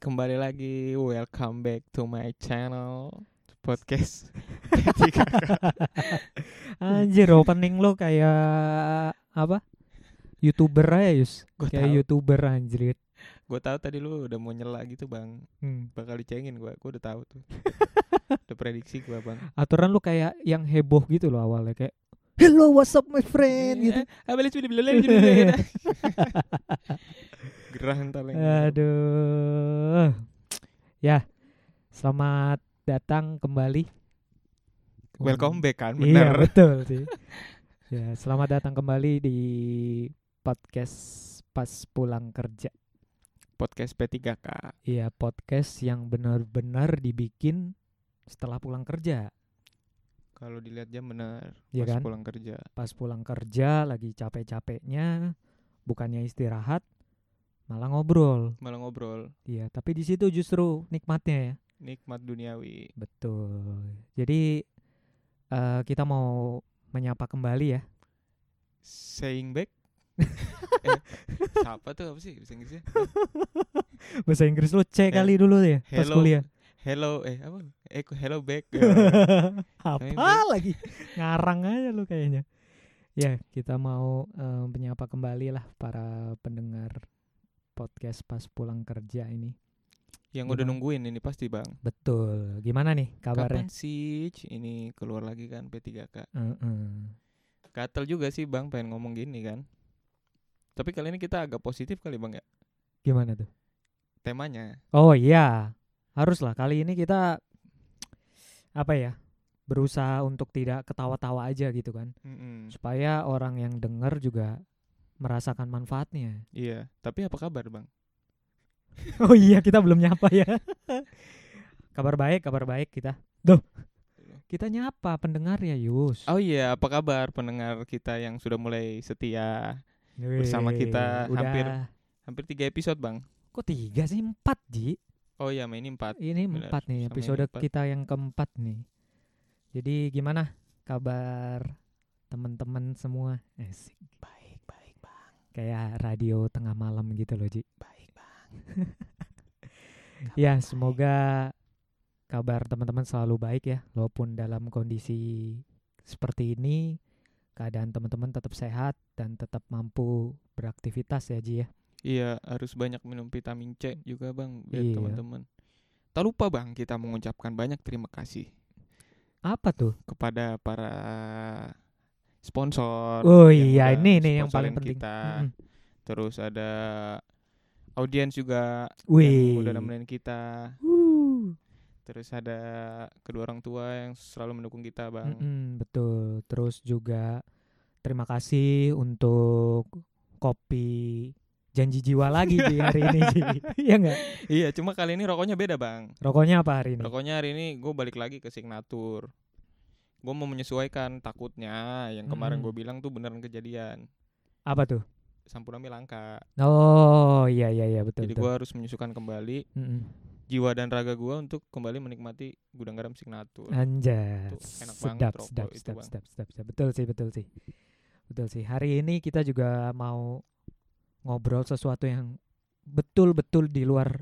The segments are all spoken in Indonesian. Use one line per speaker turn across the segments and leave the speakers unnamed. kembali lagi welcome back to my channel podcast P3K.
Anjir opening lo kayak apa? Youtuber aja Yus
Gua
Kayak
tahu.
youtuber anjir
gue tahu tadi lu udah mau nyela gitu bang
hmm.
bakal dicengin gue gue udah tahu tuh udah prediksi gue bang
Aturan lu kayak yang heboh gitu loh awalnya Kayak Hello what's up my
Iya.
friend gitu
Eh, abis itu dibeli gerah ntar lagi
Eh, Aduh Ya Selamat datang kembali
welcome back kan
Iya
bener
betul sih Ya selamat datang kembali di podcast pas pulang kerja
podcast P3K
Iya podcast yang benar-benar dibikin setelah pulang kerja
kalau dilihat jam bener
Iya
pas
kan?
pulang kerja
Pas pulang kerja lagi capek-capeknya Bukannya istirahat Malah ngobrol
malah ngobrol
Iya tapi di situ justru nikmatnya ya
nikmat duniawi
Betul Jadi eh, kita mau menyapa kembali ya
saying back eh, siapa tuh apa sih bahasa Inggrisnya
Bahasa Inggris lu C
Hel-
kali dulu ya Pas
hello.
kuliah
hello eh apa eh ku- hello back
Apa lagi Ngarang aja lu kayaknya Ya kita mau eh, menyapa kembali lah Para pendengar podcast pas pulang kerja ini
yang udah
Gimana?
nungguin ini pasti bang
Betul Gimana nih kabarnya
kapan sih Ci, ini keluar lagi kan P3K
Heeh.
gatel juga sih bang pengen ngomong gini kan tapi kali ini kita agak positif kali bang ya
Gimana tuh?
temanya
Oh iya, haruslah kali ini kita apa ya? Berusaha untuk tidak ketawa-tawa aja gitu
Hmm.
kan,
Mm-mm.
supaya orang yang denger juga merasakan manfaatnya.
iya tapi apa kabar bang
Oh iya, kita belum nyapa ya. kabar baik, kabar baik kita. Duh. Kita nyapa pendengar ya, Yus.
oh iya apa kabar pendengar kita yang sudah mulai setia bersama
Weh,
kita
udah.
hampir- hampir tiga episode bang
Kok tiga sih? Empat, Ji.
oh iya main ini empat
Ini
Benar,
empat nih
sama yang
episode
empat.
kita yang keempat nih. Jadi gimana kabar teman-teman semua? Asik. Baik, baik, Bang. Kayak radio tengah malam gitu loh, Ji. Baik, Bang. ya, semoga kabar teman-teman selalu baik ya, walaupun dalam kondisi seperti ini keadaan teman-teman tetap sehat dan tetap mampu beraktivitas ya, Ji ya.
Iya, harus banyak minum vitamin C juga, Bang, biar
Iya.
teman-teman. Tak lupa, Bang, kita mengucapkan banyak terima kasih
Apa tuh?
kepada para sponsor.
Oh
yang
iya,
udah
ini nih yang paling
sponsorin
penting.
Kita.
Mm-mm.
Terus ada audiens juga
Wih.
yang udah nemenin kita.
Wuh.
Terus ada kedua orang tua yang selalu mendukung kita, Bang.
Mm-mm, betul. Terus juga terima kasih untuk kopi janji jiwa lagi di hari ini. Ji. Iya enggak?
iya, cuma kali ini rokoknya beda, Bang.
Rokoknya apa hari ini?
Rokoknya hari ini gue balik lagi ke signatur. Gue mau menyesuaikan takutnya yang kemarin
Mm-mm.
gue bilang tuh beneran kejadian.
Apa tuh?
Sampurami langka.
Oh, iya iya iya betul.
Jadi
betul.
gua harus menyusukan kembali
Mm-mm.
jiwa dan raga gua untuk kembali menikmati gudang garam signatur.
Eh. Anjas.
Itu enak banget
Sedap,
rokok
sedap,
itu,
sedap,
Bang.
sedap, sedap, sedap. Betul sih, betul sih. Betul sih. Hari ini kita juga mau ngobrol sesuatu yang betul-betul di luar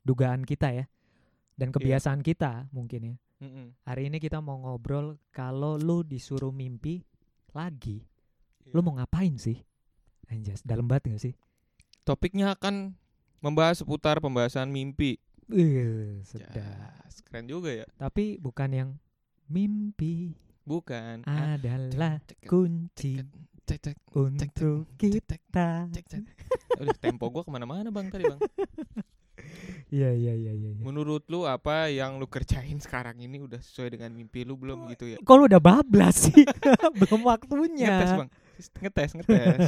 dugaan kita ya.
Iya.
Dan kebiasaan kita mungkin ya.
Mm-mm.
Hari ini kita mau ngobrol kalau lu disuruh mimpi lagi,
Iya.
lu mau ngapain sih? Anjas, dalam banget gak sih?
Topiknya akan membahas seputar pembahasan mimpi.
Eh, sedap.
Jas, keren juga ya.
Tapi bukan yang mimpi
Bukan. Ah,
adalah
cek, cek,
kunci
Cek cek cek,
untuk
cek cek
kita.
cek cek. Udah tempo gua kemana-mana bang tadi bang.
Iya, iya, iya, iya. iya.
Menurut lu apa yang lu kerjain sekarang ini udah sesuai dengan mimpi lu belum gitu ya?
Kalau udah bablas sih, belum
Ngetes
waktunya.
bang. Ngetes ngetes.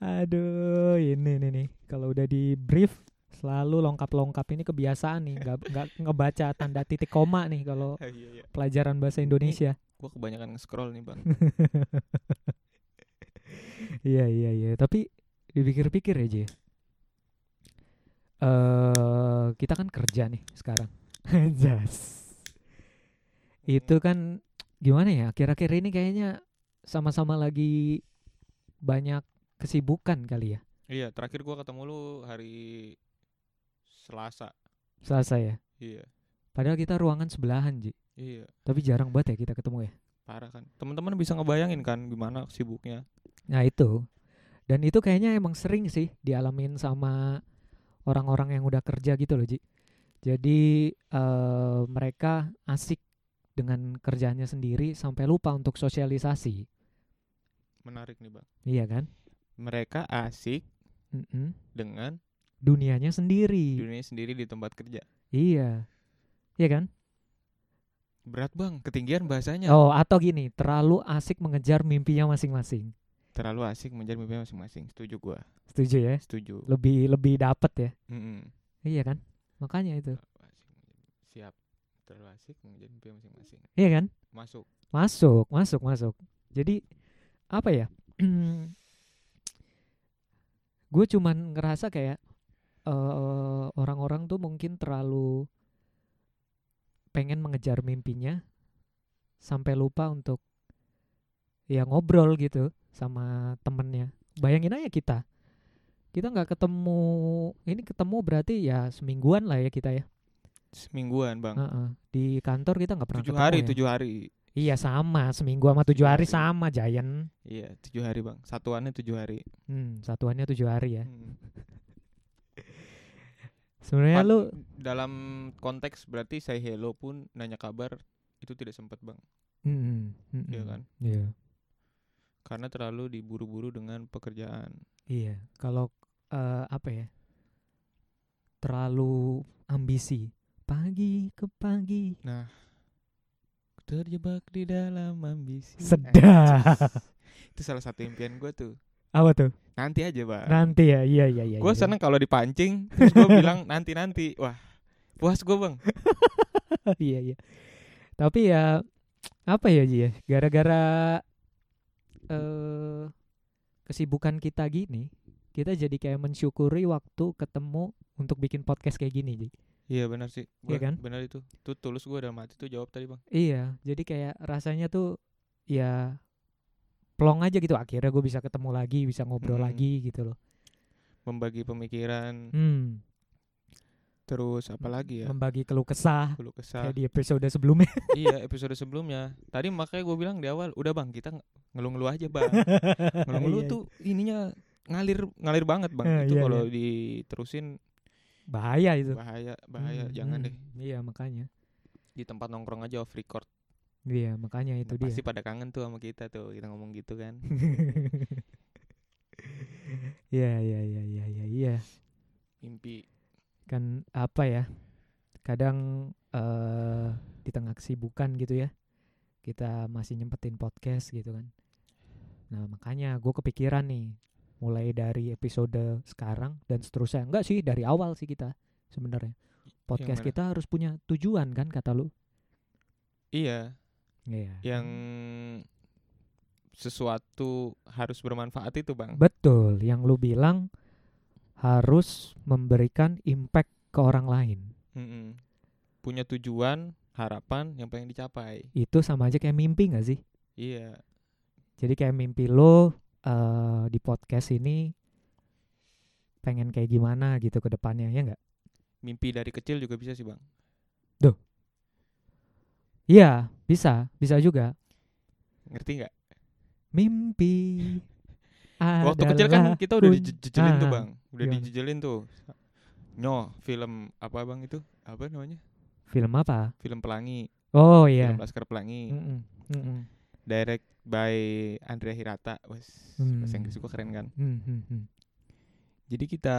Aduh, ini nih nih. Kalau udah di brief selalu longkap-longkap ini kebiasaan nih, nggak nggak ngebaca tanda titik koma nih kalau
Ah, Iya iya.
pelajaran bahasa Indonesia.
Gua kebanyakan nge-scroll nih bang.
Iya iya iya. Tapi dipikir-pikir ya Ji. Eh kita kan kerja nih sekarang. Anjas. Itu kan gimana ya? Akhir-akhir ini kayaknya sama-sama lagi banyak kesibukan kali ya.
Iya, terakhir gua ketemu lu hari Selasa.
Selasa ya.
Iya.
Padahal kita ruangan sebelahan, Ji.
Iya.
Tapi jarang banget ya kita ketemu ya.
Parah kan. Teman-teman bisa ngebayangin kan gimana sibuknya.
Nah, itu. Dan itu kayaknya emang sering sih dialamin sama orang-orang yang udah kerja gitu loh, Ji. Jadi eh, mereka asik dengan kerjaannya sendiri sampai lupa untuk sosialisasi.
Menarik nih, Bang.
Iya kan?
Mereka asik
Mm-mm.
dengan
Dunianya sendiri.
dunia sendiri di tempat kerja.
Iya. Iya kan?
Berat, Bang. Ketinggian bahasanya.
Oh, atau gini, terlalu asik mengejar mimpinya masing-masing.
Terlalu asik mengejar mimpi masing-masing. Setuju gua.
Setuju ya?
Setuju.
Lebih lebih dapet ya.
Mm-mm.
Iya kan? Makanya itu.
Terlalu asik mengejar- Siap. Terlalu asik mengejar mimpi masing-masing.
Iya kan?
Masuk.
Masuk, masuk, masuk. Jadi apa ya? gue cuman ngerasa kayak eh, orang-orang tuh mungkin terlalu pengen mengejar mimpinya sampai lupa untuk ya ngobrol gitu sama temennya. Bayangin aja kita, kita nggak ketemu, ini ketemu berarti ya semingguan lah ya kita ya.
Semingguan, Bang.
Heeh. Di kantor kita nggak pernah
Tujuh
ketemu
hari,
ya.
tujuh hari.
Iya sama seminggu sama tujuh hari
hari.
sama Giant.
Iya, tujuh hari, Bang. Satuannya tujuh hari.
Hmm, satuannya tujuh hari ya.
Mm.
Sebenarnya
Pat-
Eh, lu
dalam konteks berarti saya hello pun nanya kabar itu tidak sempat bang
Mm, mm,
Iya
mm.
kan?
Iya.
karena terlalu diburu-buru dengan pekerjaan
Iya. Kalau eh, apa ya? Terlalu ambisi. Pagi ke pagi.
nah terjebak di dalam ambisi
Sedap.
Anjis. itu salah satu impian gue tuh
Apa tuh?
nanti aja bang
Nanti ya. Iya iya iya.
gue
iya.
seneng kalau dipancing terus gue bilang nanti nanti wah puas gue bang
iya iya. Tapi ya apa ya Ji ya? Gara-gara eh kesibukan kita gini, kita jadi kayak mensyukuri waktu ketemu untuk bikin podcast kayak gini, Ji.
iya benar sih
Iya
Gua-
kan?
benar itu tuh tulus gue dalam hati tuh jawab tadi bang
Iya, jadi kayak rasanya tuh ya plong aja gitu. Akhirnya gue bisa ketemu lagi, bisa ngobrol
Mm.
lagi gitu loh.
membagi pemikiran
Hmm,
terus apalagi ya Iya.
membagi keluh kesah
Keluh kesah
kayak di episode sebelumnya.
iya episode sebelumnya tadi makanya gue bilang di awal udah bang kita ng- ngeluh-ngeluh aja bang ngeluh-ngeluh
Iya,
tuh ininya ngalir ngalir banget bang
Eh,
itu
iya,
kalau diterusin
bahaya itu.
bahaya bahaya
Hmm,
jangan
hmm.
deh
Iya, makanya.
di tempat nongkrong aja off record
Iya, makanya itu dia.
pasti pada kangen tuh sama kita tuh kita ngomong gitu kan
Iya, iya, iya, iya, iya, iya.
mimpi
Kan apa ya? Kadang eh di tengah kesibukan gitu ya. Kita masih nyempetin podcast gitu kan. Nah, makanya gue kepikiran nih mulai dari episode sekarang dan seterusnya. Enggak sih, dari awal sih kita sebenarnya. Podcast
mana?
kita harus punya tujuan kan kata lu.
iya
Iya.
yang sesuatu harus bermanfaat itu bang
Betul, yang lu bilang harus memberikan impact ke orang lain.
Mm-mm. punya tujuan harapan yang pengen dicapai
Itu sama aja kayak mimpi gak sih?
iya
Jadi kayak mimpi lo eh, di podcast ini pengen kayak gimana gitu ke depannya ya nggak?
mimpi dari kecil juga bisa sih bang
Iya, bisa, bisa juga.
ngerti nggak
Mimpi.
Waktu kecil kan
adalah
kita udah
kun-
dijejelin tuh
Ah,
bang, udah
gimana?
dijejelin tuh. Nyo, film apa bang itu? Apa namanya?
Film apa?
Film Pelangi,
Oh
film
iya.
Laskar Pelangi,
Mm-mm, mm-mm,
direct by Andrea Hirata, wes
Hmm.
bahasa Inggris gua keren kan.
mm, mm, mm.
Jadi kita,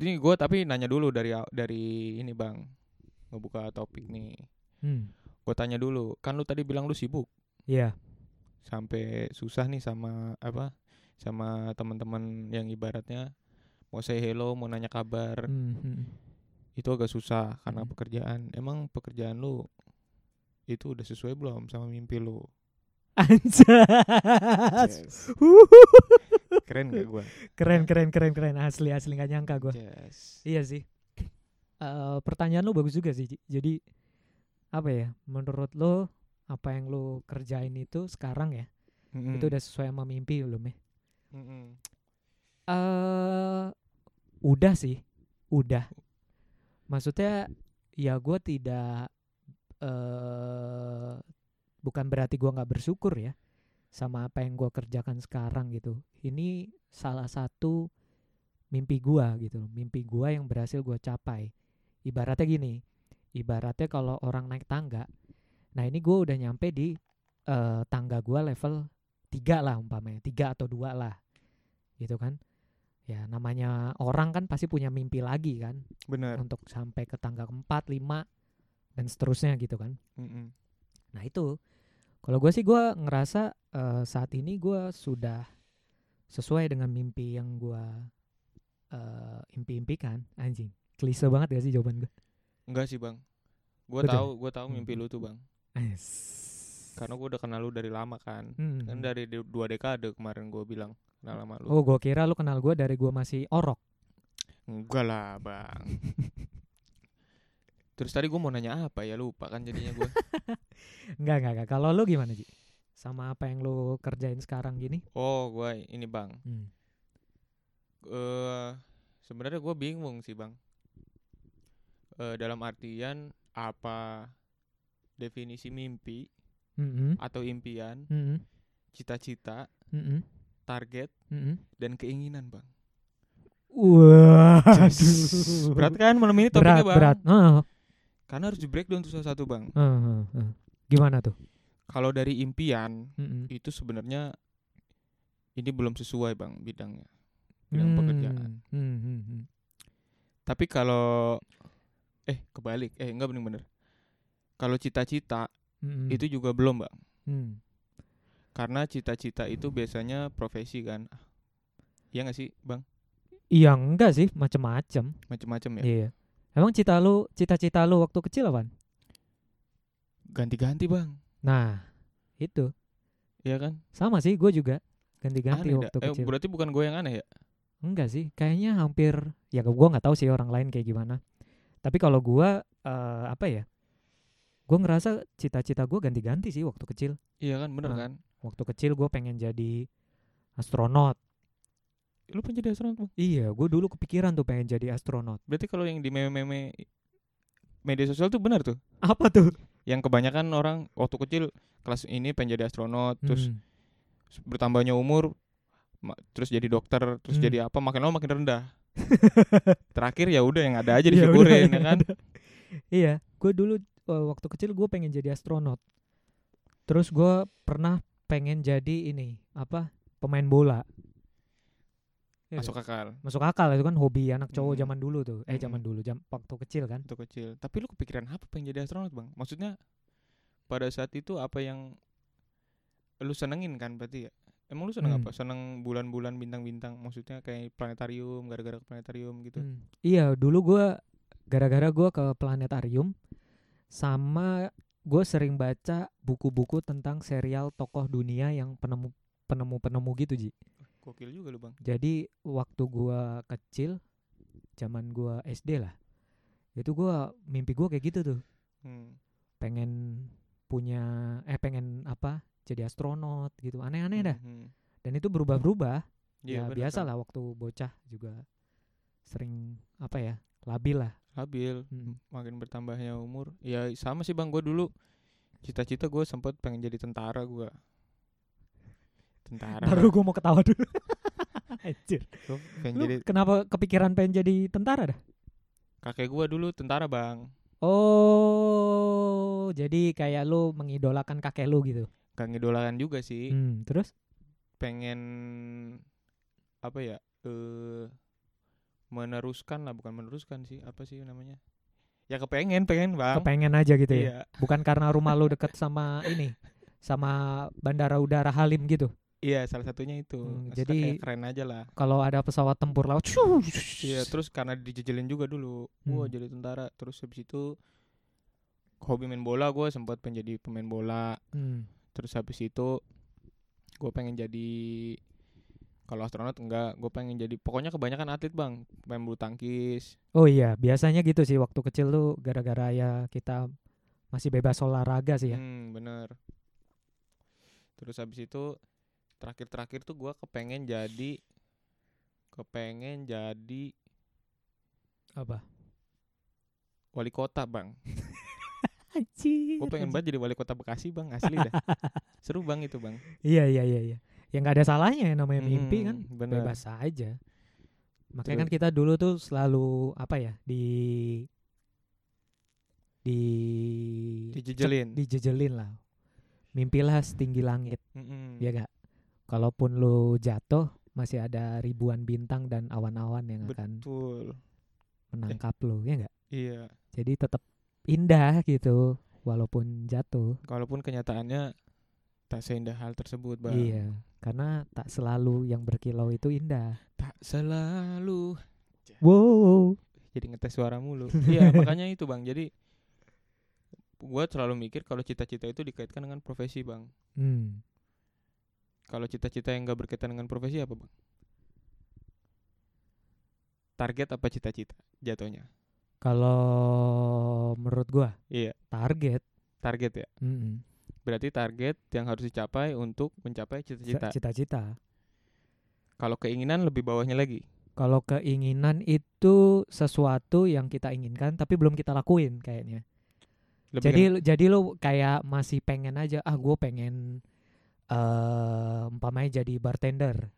ini gua tapi nanya dulu dari aw- dari ini bang, ngebuka topik nih.
Hmm,
Gua tanya dulu, kan lu tadi bilang lu sibuk
Iya.
sampai susah nih sama apa? Sama teman-teman yang ibaratnya mau say hello, mau nanya kabar.
Mm, mm.
itu agak susah karena
Mm.
pekerjaan. Emang pekerjaan lu itu udah sesuai belum sama mimpi lu?
Anjas.
Yes.
Wuh,
Keren gak gua?
Keren keren keren keren asli asli nggak nyangka gue.
Yes.
Iya sih. Eh pertanyaan lu bagus juga sih. Ji. Jadi apa ya? Menurut lo apa yang lo kerjain itu sekarang ya?
Mm-mm.
Itu udah sesuai sama mimpi belum ya?
Mm-mm.
Eh udah sih. Udah. maksudnya ya gue tidak eh bukan berarti gue nggak bersyukur ya sama apa yang gue kerjakan sekarang gitu ini salah satu mimpi gue gitu loh. mimpi gue yang berhasil gue capai ibaratnya gini ibaratnya kalau orang naik tangga nah ini gue udah nyampe di eh tangga gue level 3 lah umpamanya tiga atau dua lah gitu kan ya namanya orang kan pasti punya mimpi lagi kan
benar
untuk sampai ke tangga keempat, lima, dan seterusnya gitu kan.
Mm-mm.
Nah itu, kalau gue sih gue ngerasa eh, saat ini gue sudah sesuai dengan mimpi yang gue eh, impi-impikan. Anjing, klise banget gak sih jawaban gue?
enggak sih bang gue
Betul.
tahu gue tahu
Hmm.
mimpi lu tuh bang karena gue udah kenal lu dari lama kan
Hmm.
kan dari de- dua dekade kemarin gue bilang kenal lama lu
Oh gue kira lu kenal gue dari gue masih orok.
enggak lah bang terus tadi gue mau nanya apa ya lupa kan jadinya gue
Enggak, enggak, enggak. Kalau lu gimana Ji? Sama apa yang lu kerjain sekarang gini?
oh gue ini bang
Hmm.
eh sebenarnya gue bingung sih bang Eh dalam artian apa definisi mimpi
Mm-mm.
atau impian
Mm-mm.
cita-cita
Mm-mm.
target
Mm-mm.
dan keinginan bang
Wah, aduh.
berat kan malam ini topiknya
berat,
bang
berat. Heeh,
karena harus di breakdown tuh satu-satu bang
heeh, heeh, heeh. Gimana tuh?
kalau dari impian
Mm-mm.
itu sebenarnya ini belum sesuai bang bidangnya bidang pekerjaan
Hmm, hmm, hmm, hmm.
tapi kalau eh kebalik eh enggak bener-bener kalau cita-cita
Mm-mm.
itu juga belum bang
Hmm.
karena cita-cita itu biasanya profesi kan iya nggak sih bang
Iya enggak sih, macem-macem.
macam-macam ya
Iya. Emang cita lu, cita-cita lu waktu kecil apaan?
ganti-ganti bang
Nah, itu
iya kan
sama sih, gue juga ganti-ganti
Aneh dah.
waktu
Eh,
kecil.
berarti bukan gue yang aneh ya
Enggak sih, kayaknya hampir ya gue nggak tahu sih orang lain kayak gimana. Tapi kalau gue eh, apa ya? Gue ngerasa cita-cita gue ganti-ganti sih waktu kecil.
iya kan bener
Ah.
kan
Waktu kecil gue pengen jadi astronot.
lu penjadi astronot bang
Iya, gue dulu kepikiran tuh pengen jadi astronot.
berarti kalau yang di meme-meme media sosial tuh benar tuh
Apa tuh?
yang kebanyakan orang waktu kecil kelas ini pengen jadi astronot
Hmm.
terus bertambahnya umur ma- terus jadi dokter terus
Hmm.
jadi apa makin lama makin rendah terakhir ya udah yang ada aja
Ya udah,
disyukurin ya
yang
kan
Iya, gue dulu eh, waktu kecil gue pengen jadi astronot. Terus gue pernah pengen jadi ini apa pemain bola. Iya
masuk akal
nggak? Masuk akal itu kan hobi anak cowok
Mm.
zaman dulu tuh. Eh
Mm-mm.
zaman dulu, jam waktu kecil kan.
waktu kecil tapi lu kepikiran apa pengen jadi astronot bang maksudnya pada saat itu apa yang lu senengin kan berarti ya emang lu seneng
Hmm.
apa seneng bulan-bulan bintang-bintang maksudnya kayak planetarium gara-gara ke planetarium gitu
Mm. Iya, dulu gue gara-gara gue ke planetarium sama gue sering baca buku-buku tentang serial tokoh dunia yang penemu penemu penemu gitu ji.
gokil juga lu bang
Jadi waktu gua kecil, zaman gua SD lah, itu gua mimpi gua kayak gitu tuh,
hmm.
pengen punya eh pengen apa? Jadi astronot gitu, aneh-aneh dah.
Hmm, hmm.
Dan itu berubah-berubah.
Iya,
ya
bener
biasa
kan?
lah waktu bocah juga sering apa ya labil lah.
labil
Mm.
makin bertambahnya umur ya sama sih bang gue dulu cita-cita gue sempet pengen jadi tentara gue tentara
Baru gua mau ketawa dulu. Anjir.
Gua pengen
Lu
jadi
kenapa kepikiran pengen jadi tentara dah?
kakek gue dulu tentara bang
Oh, jadi kayak lu mengidolakan kakek lu gitu.
gak ngidolakan juga sih
Hmm, terus?
pengen apa ya eh meneruskan lah bukan meneruskan sih apa sih namanya ya kepengen pengen bang
Kepengen aja gitu ya.
iya
Bukan karena rumah lu deket sama ini, sama bandara udara Halim gitu.
iya salah satunya itu
Hmm,
Maksudnya
jadi-
kayak keren aja lah
Kalau ada pesawat tempur laut,
Iya, terus karena dijejelin juga dulu. Gua
Hmm.
jadi tentara, terus habis itu hobi main bola gue sempat pengen jadi pemain bola.
Hmm,
Terus habis itu gue pengen jadi kalau astronot enggak, gue pengen jadi pokoknya kebanyakan atlet, Bang. Main bulu tangkis.
Oh iya, biasanya gitu sih waktu kecil tuh gara-gara ya kita masih bebas olahraga sih ya.
Hmm, bener. Terus habis itu terakhir-terakhir tuh gua kepengen jadi kepengen jadi
Apa?
wali kota bang
Anjir.
gue pengen banget jadi wali kota Bekasi bang asli dah seru bang itu bang
Iya iya iya iya. Yang nggak ada salahnya ya namanya mimpi kan.
Mm, bener.
Bebas aja. Makanya kan
Terus-
kita dulu tuh selalu apa ya di di
dijejelin
dijejelin lah. Mimpilah setinggi langit,
Mm-mm.
ya gak? Kalaupun lu jatuh masih ada ribuan bintang dan awan-awan yang
Iya.
akan
betul
menangkap lu, ya gak?
iya
Jadi tetap indah gitu walaupun jatuh.
kalaupun kenyataannya tak seindah hal tersebut bang
Iya, karena tak selalu yang berkilau itu indah.
tak selalu
Wow.
jadi ngetes suara mulu iya makanya itu bang jadi gue selalu mikir kalau cita-cita itu dikaitkan dengan profesi bang
Hmm.
kalau cita-cita yang gak berkaitan dengan profesi apa bang target apa cita-cita jatuhnya
Kalau menurut gua
iya
target
target ya
mm-mm,
berarti target yang harus dicapai untuk mencapai cita-cita
cita-cita.
kalau keinginan lebih bawahnya lagi
Kalau keinginan itu sesuatu yang kita inginkan tapi belum kita lakuin kayaknya.
lebih
jadi
kan-
lu- jadi lu kayak masih pengen aja ah gua pengen eh umpamanya jadi bartender,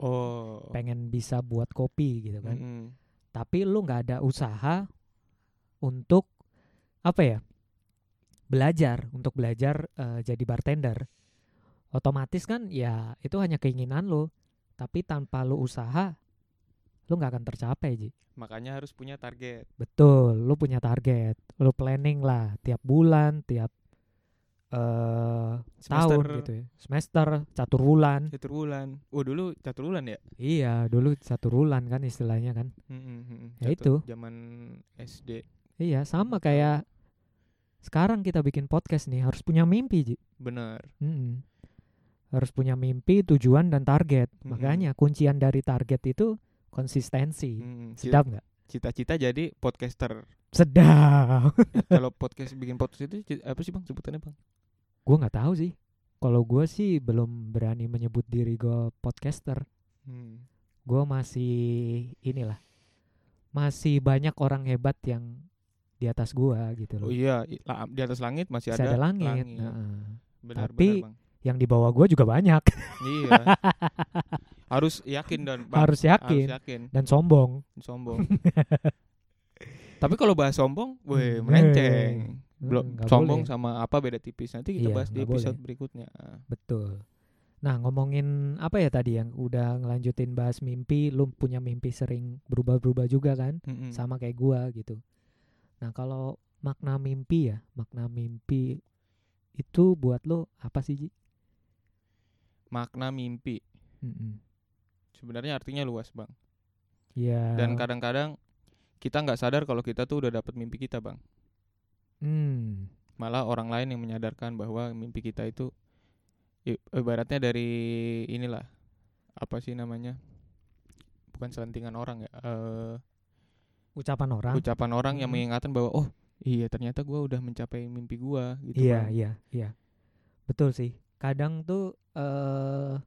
oh
pengen bisa buat kopi gitu kan.
mm-mm.
tapi lu nggak ada usaha untuk apa ya belajar untuk belajar eh, jadi bartender otomatis kan ya itu hanya keinginan lu tapi tanpa lu usaha lu nggak akan tercapai ji
makanya harus punya target
betul lu punya target lu planning lah tiap bulan tiap eh
semester
tahun gitu ya semester catur bulan
catur bulan oh dulu catur bulan ya
iya dulu catur bulan kan istilahnya kan
Mm-mm, mm-mm.
Ya
Catur- zaman SD
Iya, sama
Betul.
kayak sekarang kita bikin podcast nih harus punya mimpi, Ji.
bener
Iya. Mm-mm. Harus punya mimpi, tujuan dan target.
Mm-mm.
Makanya kuncian dari target itu konsistensi.
Mm-mm. Hmm, Ci-
Sedap nggak?
cita-cita jadi podcaster
Sedap.
kalau podcast bikin podcast itu ci- apa sih bang sebutannya bang
gua nggak tahu sih. Kalau gua sih belum berani menyebut diri gua podcaster.
Hmm.
Gua masih inilah. Masih banyak orang hebat yang di atas gua gitu loh.
Oh iya, i- la- di atas langit masih
Masih
ada,
ada langit.
langit.
Nah,
Benar,
Tapi-
benar, Bang.
yang di bawah gua juga banyak.
iya. harus yakin dan Bang.
harus yakin.
Harus yakin.
dan sombong.
Sombong. Tapi kalau bahas sombong, weh
Hmm,
melenceng.
eh,
Belum
nggak
sombong
boleh.
sama apa beda tipis. Nanti kita
Iya,
bahas di
nggak boleh.
episode berikutnya. Ah.
Betul. Nah, ngomongin apa ya tadi yang udah ngelanjutin bahas mimpi, lu punya mimpi sering berubah-berubah juga kan?
Mm-mm.
Sama kayak gua gitu. Nah, kalau makna mimpi ya, makna mimpi itu buat lu apa sih, Ji?
Makna mimpi Hmm.
Mm-mm.
sebenarnya artinya luas, Bang.
Ya.
Dan kadang-kadang kita nggak sadar kalau kita tuh udah dapat mimpi kita, Bang.
Hmm,
malah orang lain yang menyadarkan bahwa mimpi kita itu i- ibaratnya dari inilah apa sih namanya bukan selentingan orang ya eh,
ucapan orang.
ucapan orang yang
Mhm.
mengingatkan bahwa oh iya ternyata gua udah mencapai mimpi gua gitu
Iya,
Bang.
iya, iya. Betul sih. Kadang tuh eh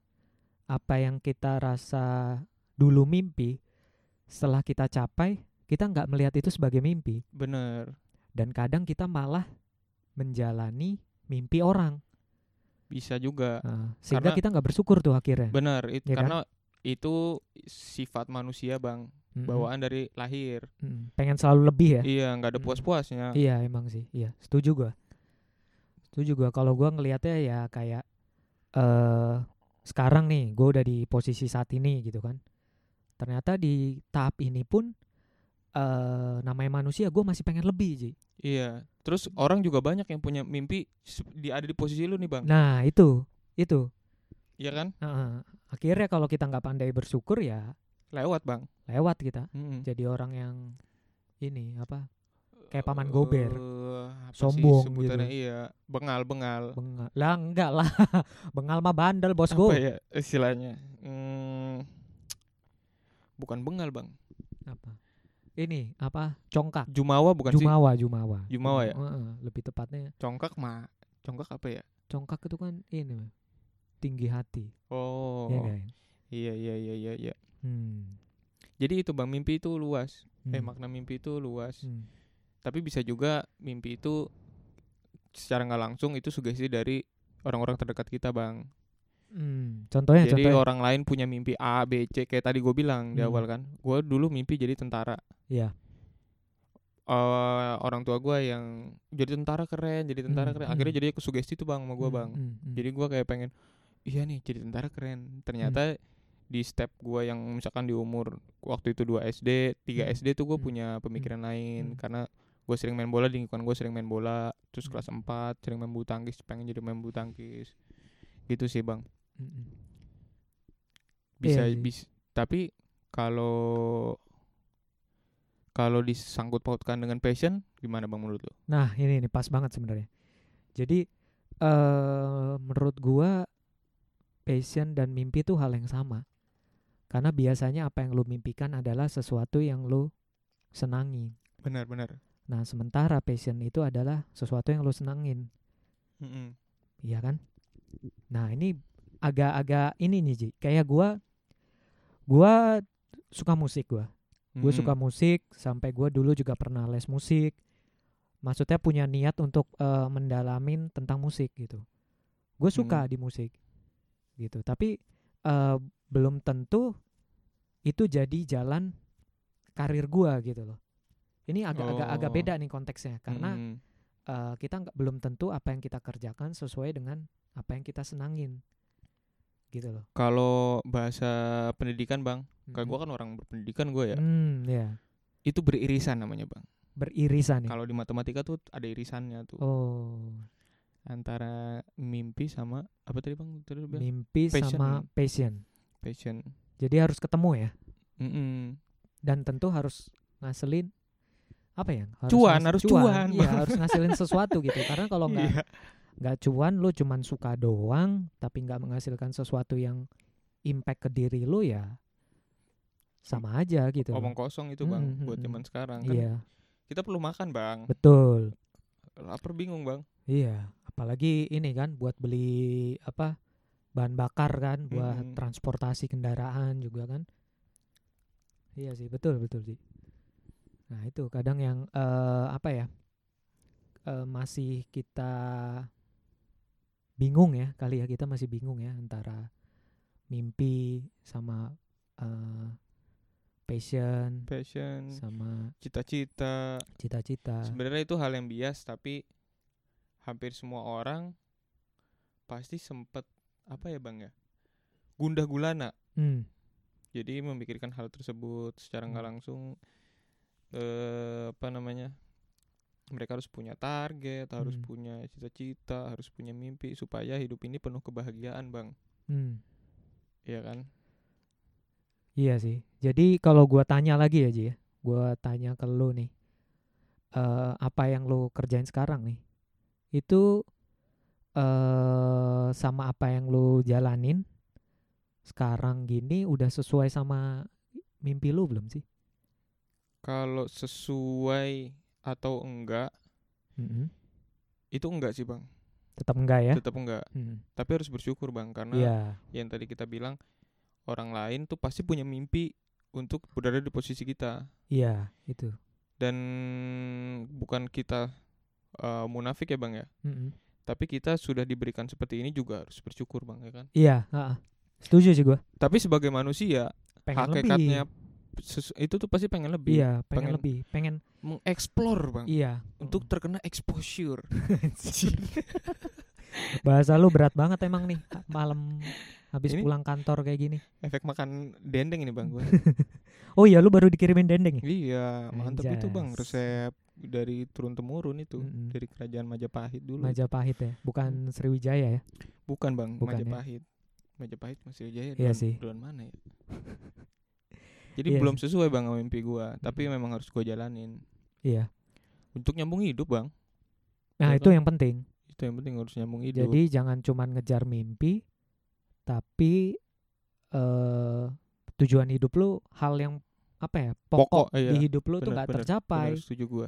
apa yang kita rasa dulu mimpi setelah kita capai, kita nggak melihat itu sebagai mimpi
bener
dan kadang kita malah menjalani mimpi orang.
bisa juga
Nah, sehingga
Karena-
kita nggak bersyukur tuh akhirnya.
bener itu
Iya kan?
karena itu sifat manusia bang
Mm-mm,
bawaan dari lahir
mm-mm. Pengen selalu lebih ya.
iya nggak ada
Mhm.
puas-puasnya
Iya, emang sih. Iya, setuju gua. Setuju gua kalau gua ngelihatnya ya kayak eh sekarang nih gua udah di posisi saat ini gitu kan. Ternyata di tahap ini pun eh namanya manusia gua masih pengen lebih, Ji.
iya terus orang juga banyak yang punya mimpi se- di ada di posisi lu nih bang
Nah, itu. Itu.
iya kan
Heeh. Akhirnya kalau kita nggak pandai bersyukur ya
lewat bang
lewat kita
Mhm.
jadi orang yang ini apa? Kayak Paman
Eh,
Gober.
apa sih
Sombong gitu.
sebutannya? iya bengal bengal
Bengal. Lah enggak lah. Bengal mah bandel, Bosku.
apa ya istilahnya Hmm, bukan bengal bang
apa ini apa congkak
jumawa bukan sih
jumawa jumawa
Jumawa ya?
Heeh, lebih tepatnya
congkak mah congkak apa ya
congkak itu kan ini Mas. tinggi hati
oh
ya kan
iya iya iya iya iya
hmm.
jadi itu bang mimpi itu luas eh
Hmm.
makna mimpi itu luas
Hmm.
tapi bisa juga mimpi itu secara nggak langsung itu sugesti dari orang-orang terdekat kita bang
Hmm, contohnya
jadi
contohnya.
orang lain punya mimpi A B C kayak tadi gue bilang di
Hmm.
awal kan gue dulu mimpi jadi tentara
Iya.
Eh, orang tua gue yang jadi tentara keren jadi tentara
Hmm,
keren
hmm.
akhirnya jadi kesugesti tuh bang sama gue
Hmm,
bang
hmm, hmm.
jadi gua kayak pengen iya nih jadi tentara keren ternyata
Hmm.
di step gua yang misalkan di umur waktu itu 2 SD 3
Hmm.
SD tuh gue
Hmm.
punya pemikiran lain
Hmm.
karena gue sering main bola di lingkungan gue sering main bola terus
Hmm.
kelas 4 sering main bulu tangkis pengen jadi main bulu tangkis gitu sih bang
Hmm, hmm.
bisa
Iya sih.
bis- tapi kalau kalau disangkut pautkan dengan passion gimana bang menurut lo?
Nah, ini nih pas banget sebenarnya. Jadi eh menurut gua passion dan mimpi itu hal yang sama. Karena biasanya apa yang lu mimpikan adalah sesuatu yang lu senangi.
Benar-benar.
Nah, sementara passion itu adalah sesuatu yang lu senangin, iya kan? Nah, ini agak-agak ini nih, Ji. Kayak gua gua suka musik gua. Gue
Hmm.
suka musik sampai gue dulu juga pernah les musik. Maksudnya punya niat untuk eh, mendalamin tentang musik gitu. Gue suka
Hmm.
di musik gitu, tapi eh, belum tentu itu jadi jalan karir gue gitu loh. Ini agak-agak agak
Oh. Hmm.
beda nih konteksnya karena eh, kita nggak belum tentu apa yang kita kerjakan sesuai dengan apa yang kita senangin gitu loh.
kalau bahasa pendidikan bang Kalau
Mm-mm.
gue kan orang berpendidikan gue ya,
Hmm, ya.
itu beririsan namanya bang.
beririsan nih.
Kalau di matematika tuh ada irisannya tuh
Iya. Oh.
antara mimpi sama apa tadi bang? Tadi lu bilang
mimpi
Iya. Passion. ya.
sama passion.
passion. Iya,
Jadi harus ketemu ya
Mm-mm.
dan tentu harus ngaselin apa ya? Harus
Cuan,
ngas-
harus cuan.
Iya, harus ngasilin sesuatu gitu. Karena kalau nggak
Iya.
nggak cuan lu cuman suka doang tapi nggak menghasilkan sesuatu yang impact ke diri lu ya sama aja gitu. loh.
Omong kosong itu bang
Mm-mm,
buat
mm-mm.
zaman sekarang kan.
Iya,
Kita perlu makan bang.
betul.
Lapar bingung bang.
Iya, apalagi ini kan buat beli apa? bahan bakar kan buat
Mm-mm.
transportasi kendaraan juga kan. Iya sih, betul betul sih. Nah, itu kadang yang eh, apa ya? eh, masih kita bingung ya, kali ya kita masih bingung ya antara mimpi sama eh, passion
Passion,
sama
cita-cita.
cita-cita.
Sebenarnya itu hal yang bias tapi hampir semua orang pasti sempet apa ya bang ya gundah gulana.
Hmm.
jadi memikirkan hal tersebut secara nggak
Hmm.
langsung eh apa namanya mereka harus punya target harus
Hmm.
punya cita-cita harus punya mimpi supaya hidup ini penuh kebahagiaan bang
Hmm.
Iya kan
Iya sih. Jadi kalau gua tanya lagi ya, Ji ya. Gua tanya ke lu nih. eh apa yang lu kerjain sekarang nih? Itu eh sama apa yang lu jalanin sekarang gini udah sesuai sama mimpi lu belum sih?
kalau sesuai atau enggak itu enggak sih bang
Tetap enggak ya?
tetap enggak
Mm.
tapi harus bersyukur bang karena
Iya.
yang tadi kita bilang orang lain tuh pasti punya mimpi untuk berada di posisi kita
Iya, itu.
dan bukan kita eh, munafik ya bang ya
Mm-mm.
tapi kita sudah diberikan seperti ini juga harus bersyukur bang ya kan
Iya, ha-ha. Setuju sih gua.
tapi sebagai manusia
Pengen
hakikatnya
lebih.
sesu- itu tuh pasti pengen lebih
Iya, pengen,
pengen-
lebih, pengen
mengeksplor bang
iya.
untuk terkena exposure
Bahasa lu berat banget emang nih malam habis
Ini-
pulang kantor kayak gini.
efek makan dendeng ini bang gua.
Oh iya lu baru dikirimin dendeng ya?
iya mantep itu bang
Anjas.
resep dari turun temurun itu
Mm-mm.
dari kerajaan Majapahit dulu Hmm.
Majapahit ya, bukan Sriwijaya ya.
bukan bang
Bukan ya?
Majapahit Majapahit masih jaya
Iya sih.
duluan mana ya jadi
Iya
belum sesuai bang sama mimpi gua tapi memang harus gua jalanin
Iya.
untuk nyambung hidup bang
Nah,
Iya
itu
kan?
yang penting.
itu yang penting harus nyambung hidup
Jadi jangan cuman ngejar mimpi tapi eh tujuan hidup lu hal yang apa ya?
Pokok,
Pokok,
iya.
di hidup lu tuh
Benar,
nggak
benar,
tercapai.
Benar, setuju gua.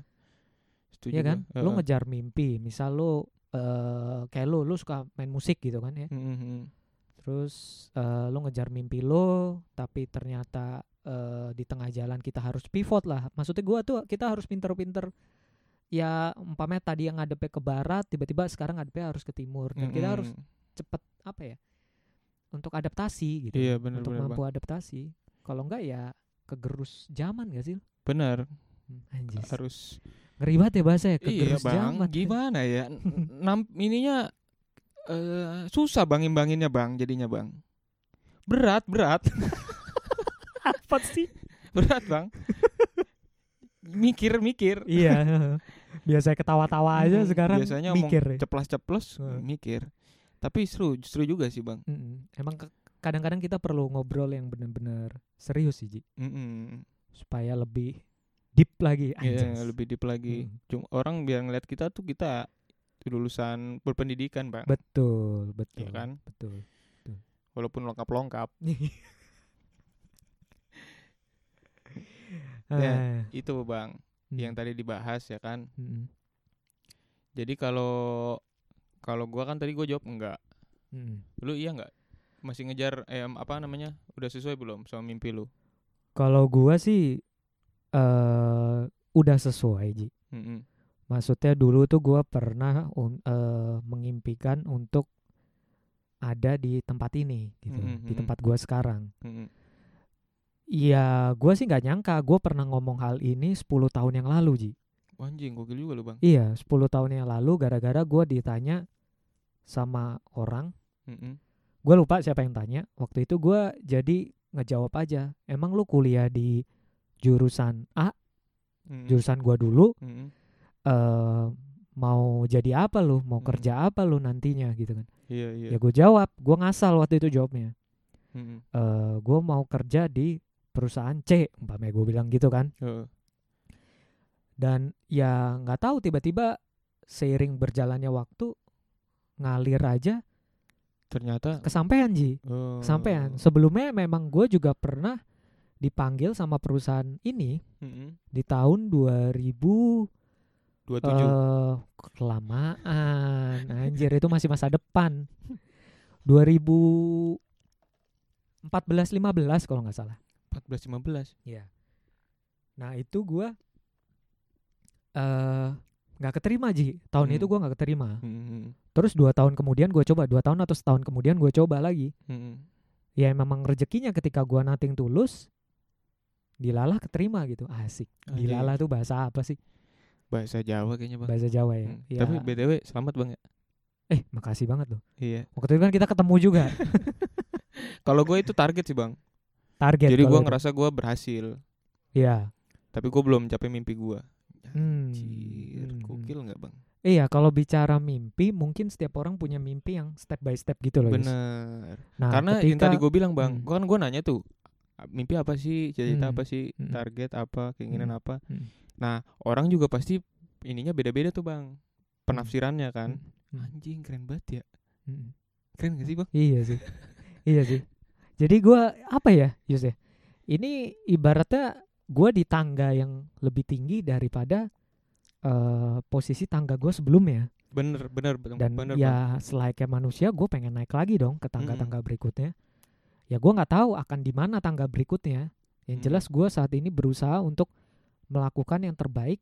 Setuju
Iya kan?
gua.
Lu
Heeh.
ngejar mimpi, misal lu eh kayak lu lu suka main musik gitu kan ya.
Mm, mm, mm.
Terus eh, lu ngejar mimpi lo, tapi ternyata eh, di tengah jalan kita harus pivot lah. Maksudnya gua tuh kita harus pinter-pinter ya umpamanya tadi yang ngadepnya ke barat tiba-tiba sekarang ngadepnya harus ke timur dan kita harus
Mm-mm.
cepet apa ya untuk adaptasi gitu
Iya, bener,
untuk
bener,
mampu adaptasi kalau enggak ya kegerus zaman gak sih lu?
benar
Hmm, anjis
harus
ngeri banget ya bahasa ya
Iya
kegerus
bang,
zaman
gimana ya? N- Nam ininya eh susah bang imbanginnya bang, jadinya bang. Berat berat
apa sih
berat bang. mikir mikir.
iya biasanya ketawa-tawa aja
Mm,
sekarang
Biasanya
mikir ya.
omong ceplas-ceplos
Heeh.
mikir. Tapi seru justru juga sih bang.
Mm-mm. emang ke- kadang-kadang kita perlu ngobrol yang bener-bener serius sih Ji.
Mm-mm.
supaya lebih deep lagi
Iya,
anjis.
lebih deep lagi.
Mm.
Cuma orang biar ngeliat kita tuh kita lulusan berpendidikan bang,
betul betul
Iya kan?
betul
Walaupun lengkap-lengkap
Ah,
itu bang,
mm,
Ya, yang tadi dibahas ya kan.
mm,
Jadi kalau kalau gua kan tadi gua jawab enggak.
mm.
Lu iya enggak? Masih ngejar eh em, apa namanya? Udah sesuai belum sama mimpi lu?
Kalau gua sih eh udah sesuai Ji.
Mm-mm.
Maksudnya dulu tuh gua pernah un- eh, mengimpikan untuk ada di tempat ini gitu,
Mm, mm,
di
mm.
tempat gua sekarang.
Mm-mm.
Iya, gua sih nggak nyangka gua pernah ngomong hal ini 10 tahun yang lalu, Ji.
Wah, Anjing gokil juga lu, Bang.
Iya, 10 tahun yang lalu gara-gara gua ditanya sama orang,
Mm-mm.
gua lupa siapa yang tanya. Waktu itu gua jadi ngejawab aja. Emang lu kuliah di jurusan A,
Hmm. Mm-mm.
jurusan gua dulu
Mm-mm.
eh mau jadi apa lu mau
Hmm.
kerja apa lu nantinya gitu kan
Iya, iya.
ya gue jawab gue ngasal waktu itu jawabnya
Mm-mm.
eh gue mau kerja di perusahaan C umpamanya gue bilang gitu kan
Heeh.
dan ya nggak tahu tiba-tiba seiring berjalannya waktu ngalir aja
Ternyata
kesampaian ji
oh.
kesampaian sebelumnya memang gue juga pernah dipanggil sama perusahaan ini
Mm-mm.
di tahun 2000
27.
Eh, kelamaan. Anjir, itu masih masa depan. 2014 15 kalau nggak salah.
14 15.
Iya. Nah, itu gua eh nggak keterima Ji. Tahun
Hmm.
itu gua nggak keterima.
Mm-mm.
Terus dua tahun kemudian gua coba, dua tahun atau setahun kemudian gua coba lagi.
Mm-mm.
Ya memang rezekinya ketika gua nating tulus dilalah keterima gitu. Asik.
Anjing.
Dilalah tuh bahasa apa sih?
Bahasa Jawa kayaknya, Bang.
Bahasa Jawa ya.
Mm.
Ya.
Tapi BTW selamat, Bang ya.
eh, makasih banget loh.
Iya.
Waktu itu kan kita ketemu juga.
Kalau gue itu target sih, Bang.
target.
Jadi
kalau
gua
itu.
ngerasa gua berhasil,
Iya.
tapi gua belum mencapai mimpi gua. Ya,
Hmm.
Anjir,
Hmm.
gokil nggak, Bang?
Iya, kalau bicara mimpi, mungkin setiap orang punya mimpi yang step by step gitu loh. Yus.
Bener.
Nah,
Karena yang
ketika-
tadi gue bilang bang,
Hmm.
gua kan gue nanya tuh "A- mimpi apa sih, cita-cita
Hmm.
apa sih,
Hmm.
target apa, keinginan
Hmm.
apa.
Hmm.
Nah orang juga pasti ininya beda-beda tuh bang, penafsirannya kan.
Hmm.
Anjing keren banget ya,
Mm.
keren gak sih bang?
Iya sih. iya sih. Jadi gua apa ya, Yus ya? Ini ibaratnya gua di tangga yang lebih tinggi daripada eh, posisi tangga gua sebelumnya.
Bener, bener, bener,
Dan
bener bang.
ya selayaknya manusia gue pengen naik lagi dong ke
Hmm.
tangga-tangga berikutnya. Ya gua nggak tahu akan di mana tangga berikutnya. Yang
Mm.
jelas gua saat ini berusaha untuk melakukan yang terbaik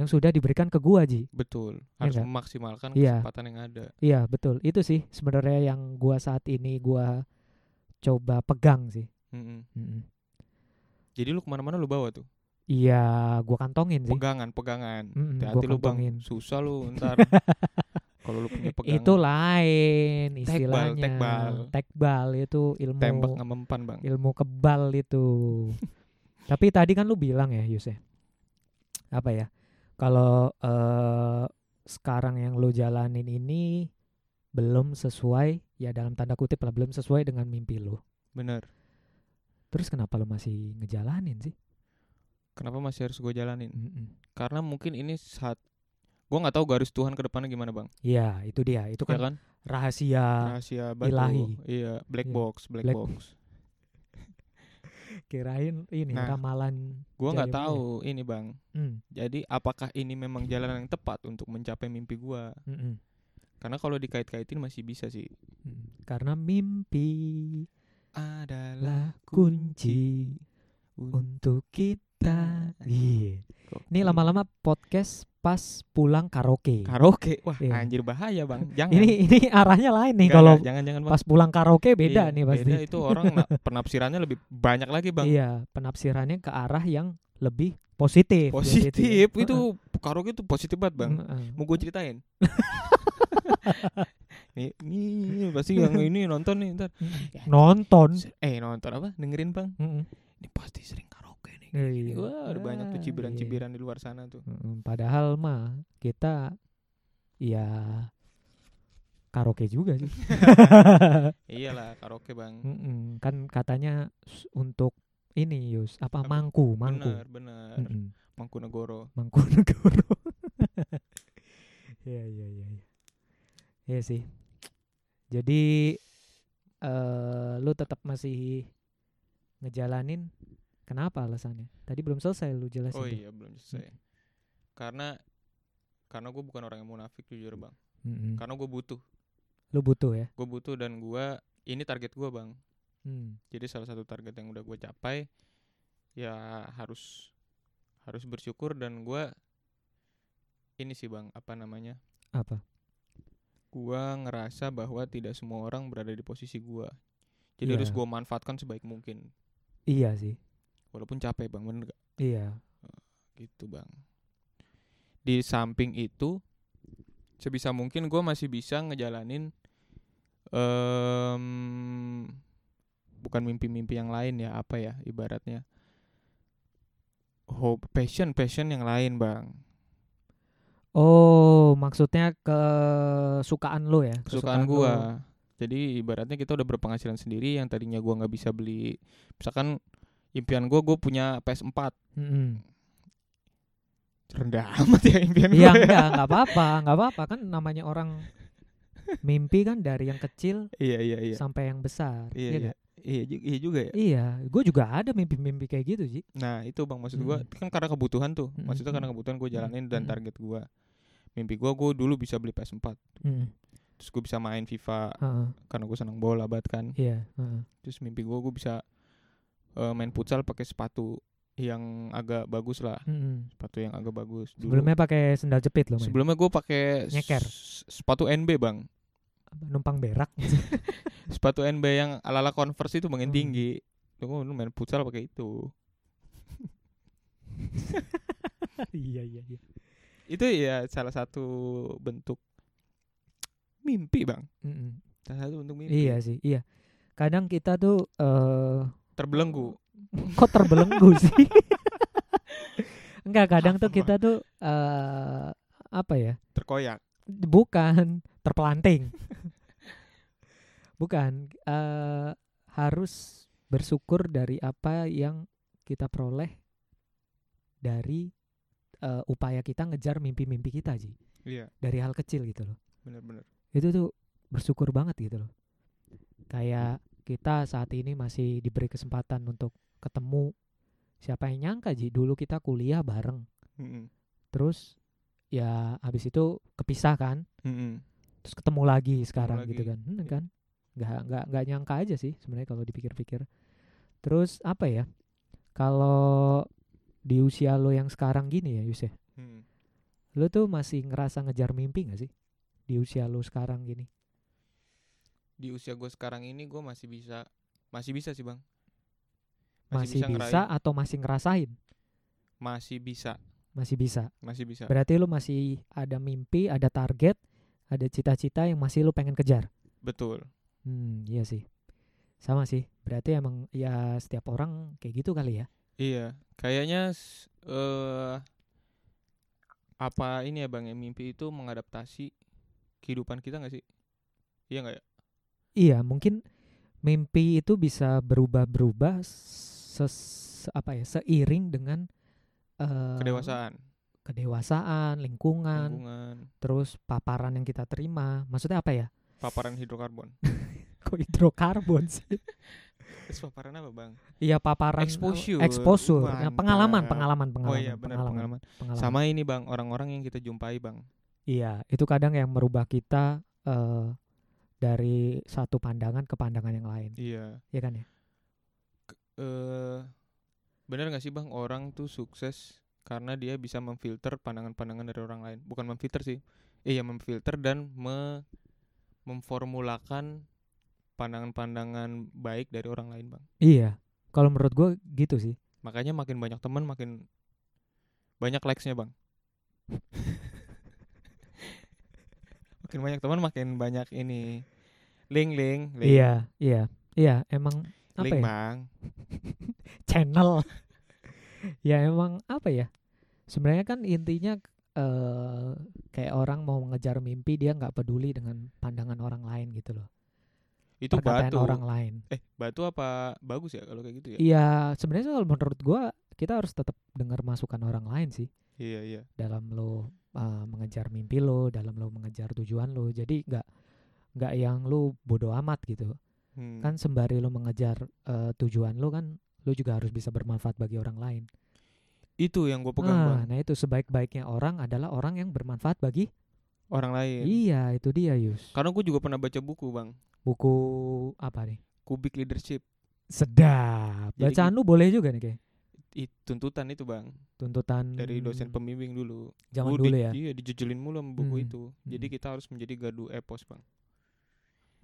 yang sudah diberikan ke gua Ji.
Betul, harus
nggak?
memaksimalkan
Iya.
kesempatan yang ada.
Iya betul. Itu sih sebenarnya yang gua saat ini gua coba pegang sih.
Mm-mm.
Mm-mm.
Jadi lu kemana-mana lu bawa tuh,
Iya gua kantongin sih.
pegangan, pegangan.
Mm-mm,
Hati-hati
Hmm,
lu
gua
bang,
kantongin.
susah lu ntar. Kalau lu punya pegangan,
Itu lain
Tekbal,
istilahnya.
tekbal.
Tekbal itu ilmu
tembak nggak mempan bang.
ilmu kebal itu. Tapi tadi kan lu bilang ya, Yus ya. Apa ya? Kalau eh, sekarang yang lu jalanin ini belum sesuai ya dalam tanda kutip lah belum sesuai dengan mimpi lu.
Bener.
Terus kenapa lu masih ngejalanin sih?
Kenapa masih harus gue jalanin?
Mm-mm.
karena mungkin ini saat gue nggak tahu garis Tuhan ke depannya gimana bang
Iya, itu dia. Itu
ya
kan
kan Nah.
rahasia.
rahasia batu
ilahi.
iya black
Iya.
box black,
Black
box
Kirain ini
Nah,
ramalan.
gue nggak
Jadi
tahu ini bang
Mm,
jadi apakah ini memang jalan yang tepat untuk mencapai mimpi gue
mm-mm,
karena kalau dikait-kaitin masih bisa sih
mm. Karena mimpi
adalah
lah kunci
Nah.
untuk kita. Iya. Ini lama-lama podcast pas pulang karaoke.
Karaoke. Wah,
Iya.
anjir bahaya, Bang. Jangan.
ini ini arahnya lain nih
Nggak,
kalau
nggak, jangan jangan Bang.
pas pulang karaoke beda
Iya,
nih pasti.
Beda itu orang na- penafsirannya lebih banyak lagi, Bang.
Iya, penafsirannya ke arah yang lebih positif. iya,
positif
gitu.
itu karaoke itu positif banget, Bang.
Mm.
Mau gue ceritain. nih, nih, pasti yang ini nonton nih ntar.
Nonton.
Eh, nonton apa? Dengerin, Bang.
Mm-mm.
Ini pasti sering karaoke nih.
Iya.
Gitu. Wah, ada banyak tuh
Ah, iya.
cibiran-cibiran di luar sana tuh.
Mm, Padahal mah kita ya karaoke juga sih.
Iyalah, karaoke, Bang.
Mm-mm. Kan katanya s- untuk ini Yus apa
Apa?
mangku mangku.
Bener, bener.
Mm-mm.
Mangkunegoro.
Mangkunegoro. Iya iya iya. iya. Iya sih. Jadi eh lu tetap masih ngejalanin kenapa alasannya? Tadi belum selesai lu jelasin.
Oh
tuh.
iya, belum selesai. Karena karena gue bukan orang yang munafik jujur, Bang.
Mm-mm.
Karena gue butuh
Lu butuh ya.
gue butuh dan gua ini target gua bang
Hmm.
jadi salah satu target yang udah gue capai ya harus harus bersyukur dan gua ini sih bang apa namanya
Apa?
gua ngerasa bahwa tidak semua orang berada di posisi gua jadi
Iya.
harus gua manfaatkan sebaik mungkin
Iya sih.
walaupun capek bang bener nggak?
Iya.
gitu bang di samping itu sebisa mungkin gua masih bisa ngejalanin em, bukan mimpi-mimpi yang lain ya apa ya ibaratnya hope passion passion yang lain bang
Oh, maksudnya kesukaan lu ya?
kesukaan
lu.
gua jadi ibaratnya kita udah berpenghasilan sendiri yang tadinya gua nggak bisa beli misalkan impian gua gua punya PS4
Mm-mm.
rendah amat ya impian
Iya
gua ya.
enggak, enggak apa-apa, enggak apa-apa kan namanya orang mimpi kan dari yang kecil
iya iya iya
sampai yang besar.
iya
iya
iya
nggak?
iya ju- iya juga ya
Iya, gue juga ada mimpi-mimpi kayak gitu sih.
Nah itu bang maksud
Hmm.
gua kan karena kebutuhan tuh
Mm-mm.
maksudnya karena kebutuhan gue jalanin dan
Mm-mm.
target gua mimpi gua gue dulu bisa beli PS4
Heeh.
terus gue bisa main FIFA karena gue senang bola banget kan
Iya. heeh.
terus mimpi gua gue bisa eh, main futsal pakai sepatu yang agak bagus lah
Mm-mm.
sepatu yang agak bagus dulu.
Sebelumnya pakai sendal jepit loh, men.
sebelumnya gue pakai s-
Nyeker.
sepatu NB bang
Apa, numpang berak.
sepatu NB yang ala ala Converse itu bang yang
Hmm.
tinggi Tuh gua dulu main futsal pakai itu
iya, iya, iya.
itu ya salah satu bentuk mimpi bang
Mm-mm.
salah satu bentuk mimpi
Iya sih, iya. Kadang kita tuh eh
terbelenggu
kok terbelenggu sih? Enggak, kadang tuh
Apa?
kita tuh eh apa ya?
terkoyak
Bukan terpelanting. Bukan eh, harus bersyukur dari apa yang kita peroleh dari eh, upaya kita ngejar mimpi-mimpi kita sih.
iya
Dari hal kecil gitu loh.
benar-benar
Itu tuh bersyukur banget gitu loh. Kayak kita saat ini masih diberi kesempatan untuk ketemu siapa yang nyangka Ji dulu kita kuliah bareng.
Mm-mm.
Terus ya habis itu kepisah kan?
Mm-mm.
terus ketemu lagi sekarang gitu
lagi.
kan Hmm, kan nggak nggak nggak nyangka aja sih sebenarnya kalau dipikir-pikir terus apa ya kalau di usia lo yang sekarang gini ya Yus ya
Mm.
lo tuh masih ngerasa ngejar mimpi gak sih di usia lo sekarang gini
di usia gue sekarang ini gue masih bisa masih bisa sih bang
masih, bisa,
ngeraih.
atau masih ngerasain
masih bisa
masih bisa
masih bisa
berarti lo masih ada mimpi ada target ada cita-cita yang masih lo pengen kejar
betul
hmm iya sih sama sih berarti emang ya setiap orang kayak gitu kali ya
iya kayaknya s- eh apa ini ya bang ya mimpi itu mengadaptasi kehidupan kita nggak sih iya nggak ya
Iya, mungkin mimpi itu bisa berubah-berubah ses apa ya, seiring dengan eh, kan.
kedewasaan
kedewasaan, lingkungan,
lingkungan
terus paparan yang kita terima. Maksudnya apa ya?
paparan hidrokarbon
Kok hidrokarbon sih?
Terus paparan apa bang
Iya, paparan
Exposure.
exposure.
Mantap.
Nah, pengalaman, pengalaman,
oh
pengalaman,
iya benar pengalaman.
pengalaman.
sama ini bang orang-orang yang kita jumpai bang
Iya, itu kadang yang merubah kita eh, dari satu pandangan ke pandangan yang lain.
iya
Iya kan ya?
eh benar nggak sih bang orang tuh sukses karena dia bisa memfilter pandangan-pandangan dari orang lain bukan memfilter sih iya memfilter dan me memformulakan pandangan-pandangan baik dari orang lain bang
Iya. Kalau menurut gue gitu sih.
makanya makin banyak teman makin banyak likesnya bang makin banyak teman makin banyak ini link link link
Iya, iya. Iya, emang apa
link
ya?
bang
channel. ya emang apa ya? Sebenarnya kan intinya eh kayak orang mau mengejar mimpi dia nggak peduli dengan pandangan orang lain gitu loh.
itu
Perkataan
batu
orang lain.
eh batu apa bagus ya kalau kayak gitu ya
Iya, sebenarnya soal menurut gua kita harus tetap dengar masukan orang lain sih
iya iya
dalam lo eh, mengejar mimpi lo, dalam lo mengejar tujuan lo. Jadi nggak nggak yang lo bodoh amat gitu.
Hmm.
Kan sembari lo mengejar eh, tujuan lo kan lo juga harus bisa bermanfaat bagi orang lain.
itu yang gue pegang
Ah,
bang
Nah itu sebaik-baiknya orang adalah orang yang bermanfaat bagi.
orang lain
Iya itu dia Yus.
karena gue juga pernah baca buku bang
Buku apa nih?
kubik leadership
Sedap.
Jadi
Bacaan lu boleh juga nih kayak
I- tuntutan itu bang
tuntutan
dari dosen pembimbing dulu
Hmm. zaman
Gua
dulu
di-
ya.
iya dijejulin mulu sama buku
Hmm,
itu jadi
hmm.
kita harus menjadi gardu epos bang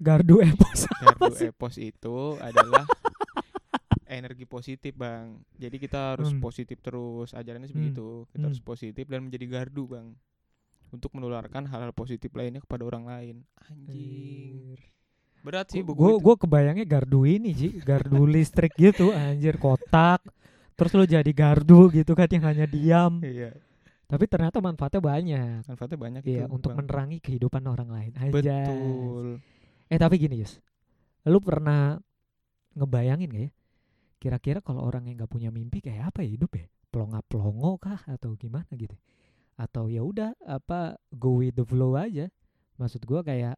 Gardu epos.
gardu
sih?
epos itu adalah energi positif bang jadi kita harus
Hmm.
positif terus ajarannya
Hmm,
begitu kita
hmm.
harus positif dan menjadi gardu bang untuk menularkan hal-hal positif lainnya kepada orang lain
Iya.
anjing berat sih buku
Gue
itu
gue kebayangnya gardu ini Ji, gardu listrik gitu anjir kotak. Terus lu jadi gardu gitu kan yang hanya diam.
iya
Tapi ternyata manfaatnya banyak.
manfaatnya banyak
Iya,
itu
untuk
Bang.
menerangi kehidupan orang lain. Anjay.
betul
Eh tapi gini Yus, lu pernah ngebayangin gak ya? Kira-kira kalau orang yang nggak punya mimpi kayak apa ya hidup ya? Pelonga pelongo kah atau gimana gitu? Atau ya udah apa go with the flow aja? Maksud gua kayak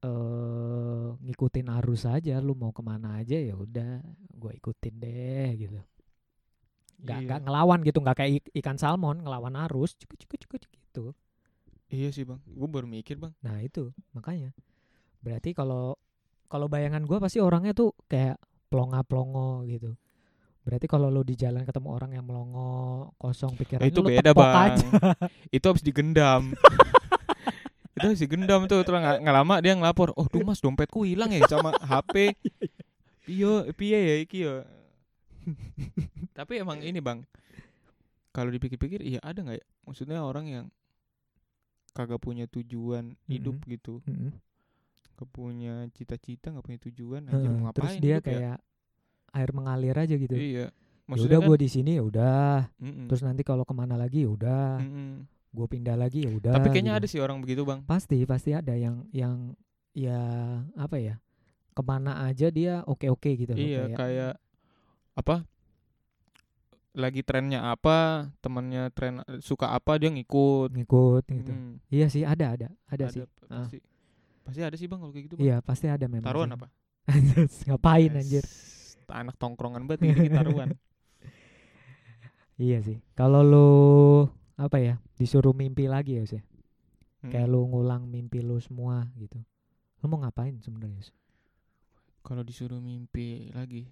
eh ngikutin arus aja, lu mau kemana aja ya udah, gua ikutin deh gitu. Gak,
Iya.
gak ngelawan gitu, gak kayak ik- ikan salmon ngelawan arus, cukup cukup cukup gitu.
iya sih bang gue baru mikir bang
Nah itu makanya berarti kalau kalau bayangan gua pasti orangnya tuh kayak pelonga pelongo gitu. Berarti kalau lo di jalan ketemu orang yang melongo kosong pikiran
Nah, itu
lu
beda
tepok
bang
aja.
itu habis digendam itu habis digendam tuh terus nggak nggak lama dia ngelapor oh duh mas dompetku hilang ya sama
Iya,
HP iyo piye ya iki yo tapi emang ini bang kalau dipikir-pikir iya ada nggak ya maksudnya orang yang kagak punya tujuan hidup
Mm-hmm.
gitu
Mm-mm.
gak punya cita-cita nggak punya tujuan anjir mau
Heeh,
Nah, ngapain
Terus
hidup
dia
ya?
kayak air mengalir aja gitu. Ya
iya
udah
maksudnya kan, Hmm.
gua di sini ya udah.
mm-mm,
Terus nanti kalau kemana lagi ya udah.
mm-mm.
Gua pindah lagi ya udah.
Hmm. tapi kayaknya
gitu.
ada sih orang begitu bang
Pasti pasti ada yang yang ya apa ya? Kemana aja dia oke-oke gitu loh,
Iya kayak apa? Lagi trennya apa, temannya tren suka apa dia ngikut.
ngikut gitu.
Hmm,
Iya sih ada ada ada, sih.
p-
Ah.
Pasti, pasti ada sih bang kalau kayak gitu. Bang.
Iya pasti ada memang.
Taruhan
sih.
apa?
Ngapain anjir?
Es, Anak tongkrongan banget ini dikit taruhan.
Iya sih. Kalau lu apa ya disuruh mimpi lagi ya sih.
Hmm.
Kayak lu ngulang mimpi lu semua gitu. Lu mau ngapain sebenarnya? Yus?
Kalau disuruh mimpi lagi,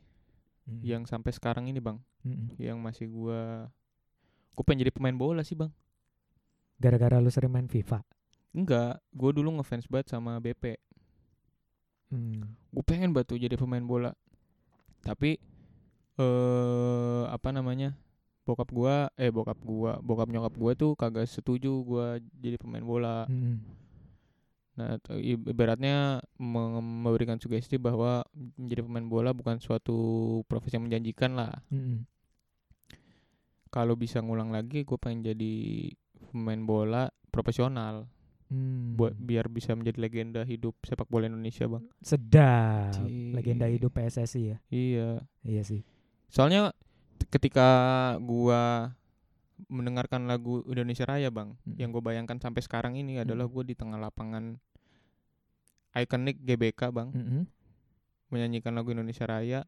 Mm.
yang sampai sekarang ini bang,
Mm-mm.
yang masih gua, gua pengen jadi pemain bola sih bang.
Gara-gara lu sering main FIFA.
Enggak, gua dulu ngefans banget sama BP.
Hmm.
gue pengen batu jadi pemain bola tapi eh apa namanya bokap gua eh bokap gua bokap nyokap gua tuh kagak setuju gua jadi pemain bola
Mm-mm.
nah t- i- ibaratnya menge- memberikan sugesti bahwa menjadi pemain bola bukan suatu profesi yang menjanjikan lah
Mm-mm.
kalau bisa ngulang lagi gue pengen jadi pemain bola profesional
Hmm.
buat biar bisa menjadi legenda hidup sepak bola Indonesia bang
sedap.
Cih.
Legenda hidup PSSI ya.
iya
Iya sih.
Soalnya t- ketika gua mendengarkan lagu Indonesia Raya, Bang,
Mm.
yang gue bayangkan sampai sekarang ini adalah
Hmm.
gue di tengah lapangan ikonik GBK, Bang,
Mm-mm.
menyanyikan lagu Indonesia Raya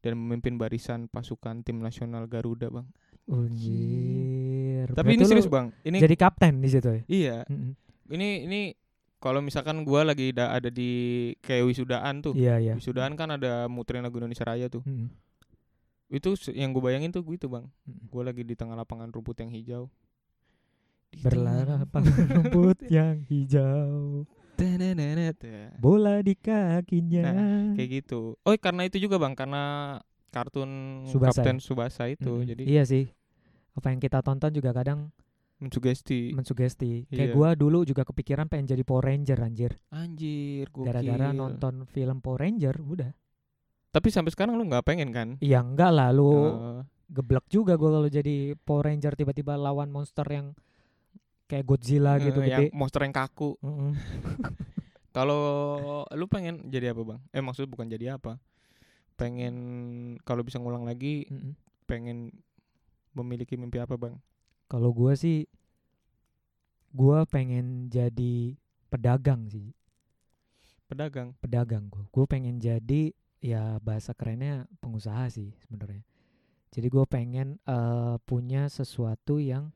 dan memimpin barisan pasukan tim nasional Garuda, Bang.
Anjir.
Tapi ini
Berarti lu
serius, Bang. Ini
Jadi kapten di situ ya.
iya,
Mm-mm.
ini ini kalau misalkan gua lagi da- ada di kayak wisudaan tuh.
Iya iya.
Wisudaan kan ada muterin lagu Indonesia Raya tuh.
Mm-mm.
itu se- yang gue bayangin tuh gue itu bang
Mm.
gue lagi di tengah lapangan rumput yang hijau Di tengah-
Berlari rumput yang hijau,
Tenenenet, ya.
bola di kakinya.
kayak gitu oh karena itu juga bang karena kartun
Tsubasa.
Kapten Subasa itu
ya? Mm-mm.
gitu, jadi
Iya sih. Apa yang kita tonton juga kadang
mensugesti
mensugesti. Kayak
Iya.
gua dulu juga kepikiran pengen jadi Power Ranger anjir.
anjir gokil
Gara-gara nonton film Power Ranger udah.
tapi sampai sekarang lu nggak pengen kan
Iya enggak lah lu
Eh,
geblek juga gua kalau jadi Power Ranger tiba-tiba lawan monster yang kayak Godzilla
eh,
gitu
yang
gede.
monster yang kaku
Mm-mm.
kalau lu pengen jadi apa bang eh maksud bukan jadi apa pengen kalau bisa ngulang lagi
Mm-mm.
pengen memiliki mimpi apa bang
Kalau gua sih gua pengen jadi pedagang sih.
pedagang
pedagang gue. Gue pengen jadi ya bahasa kerennya pengusaha sih sebenarnya. Jadi gue pengen eh, punya sesuatu yang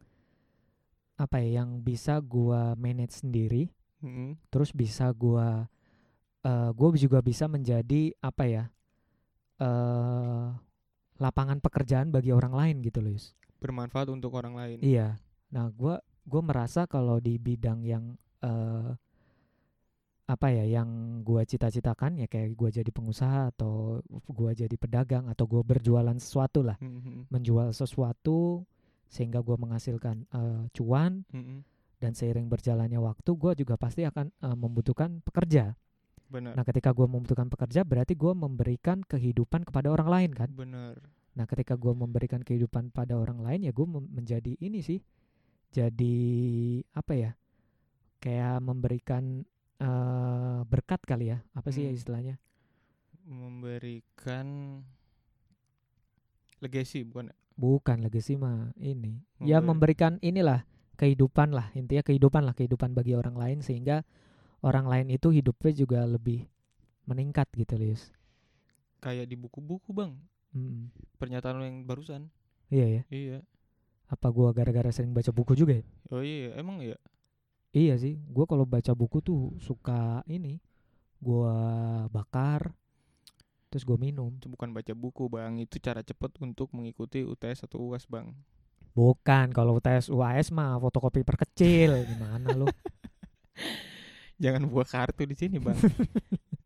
apa ya yang bisa gua manage sendiri,
Mm-mm.
terus bisa gua eh gue juga bisa menjadi apa ya eh lapangan pekerjaan bagi orang lain gitu loh. Yus.
bermanfaat untuk orang lain
Iya. Nah, gua gua merasa kalau di bidang yang eh apa ya yang gua cita-citakan ya kayak gua jadi pengusaha atau gua jadi pedagang atau gua berjualan sesuatu lah,
Mm-mm.
menjual sesuatu sehingga gua menghasilkan eh, cuan
Mm-mm.
dan seiring berjalannya waktu gua juga pasti akan eh, membutuhkan pekerja.
benar
Nah, ketika gua membutuhkan pekerja berarti gua memberikan kehidupan kepada orang lain kan?
benar
Nah, ketika gue memberikan kehidupan pada orang lain, ya gue menjadi ini sih, jadi apa ya, kayak memberikan eh, berkat kali ya, apa sih ya
Hmm.
istilahnya?
memberikan legacy bukan
Bukan legacy mah ini, ya
Memberi-
memberikan inilah kehidupan lah, intinya kehidupan lah, kehidupan bagi orang lain sehingga orang lain itu hidupnya juga lebih meningkat gitu, Lius.
kayak di buku-buku bang
Mm-mm.
pernyataan lo yang barusan
Iya ya,
iya
apa gua gara-gara sering baca buku juga ya?
oh iya emang ya
Iya sih, gua kalau baca buku tuh suka ini, gua bakar, terus gua minum.
itu bukan baca buku bang itu cara cepet untuk mengikuti UTS atau UAS bang
Bukan, kalau UTS UAS mah fotokopi perkecil, gimana lu?
jangan buah kartu di sini bang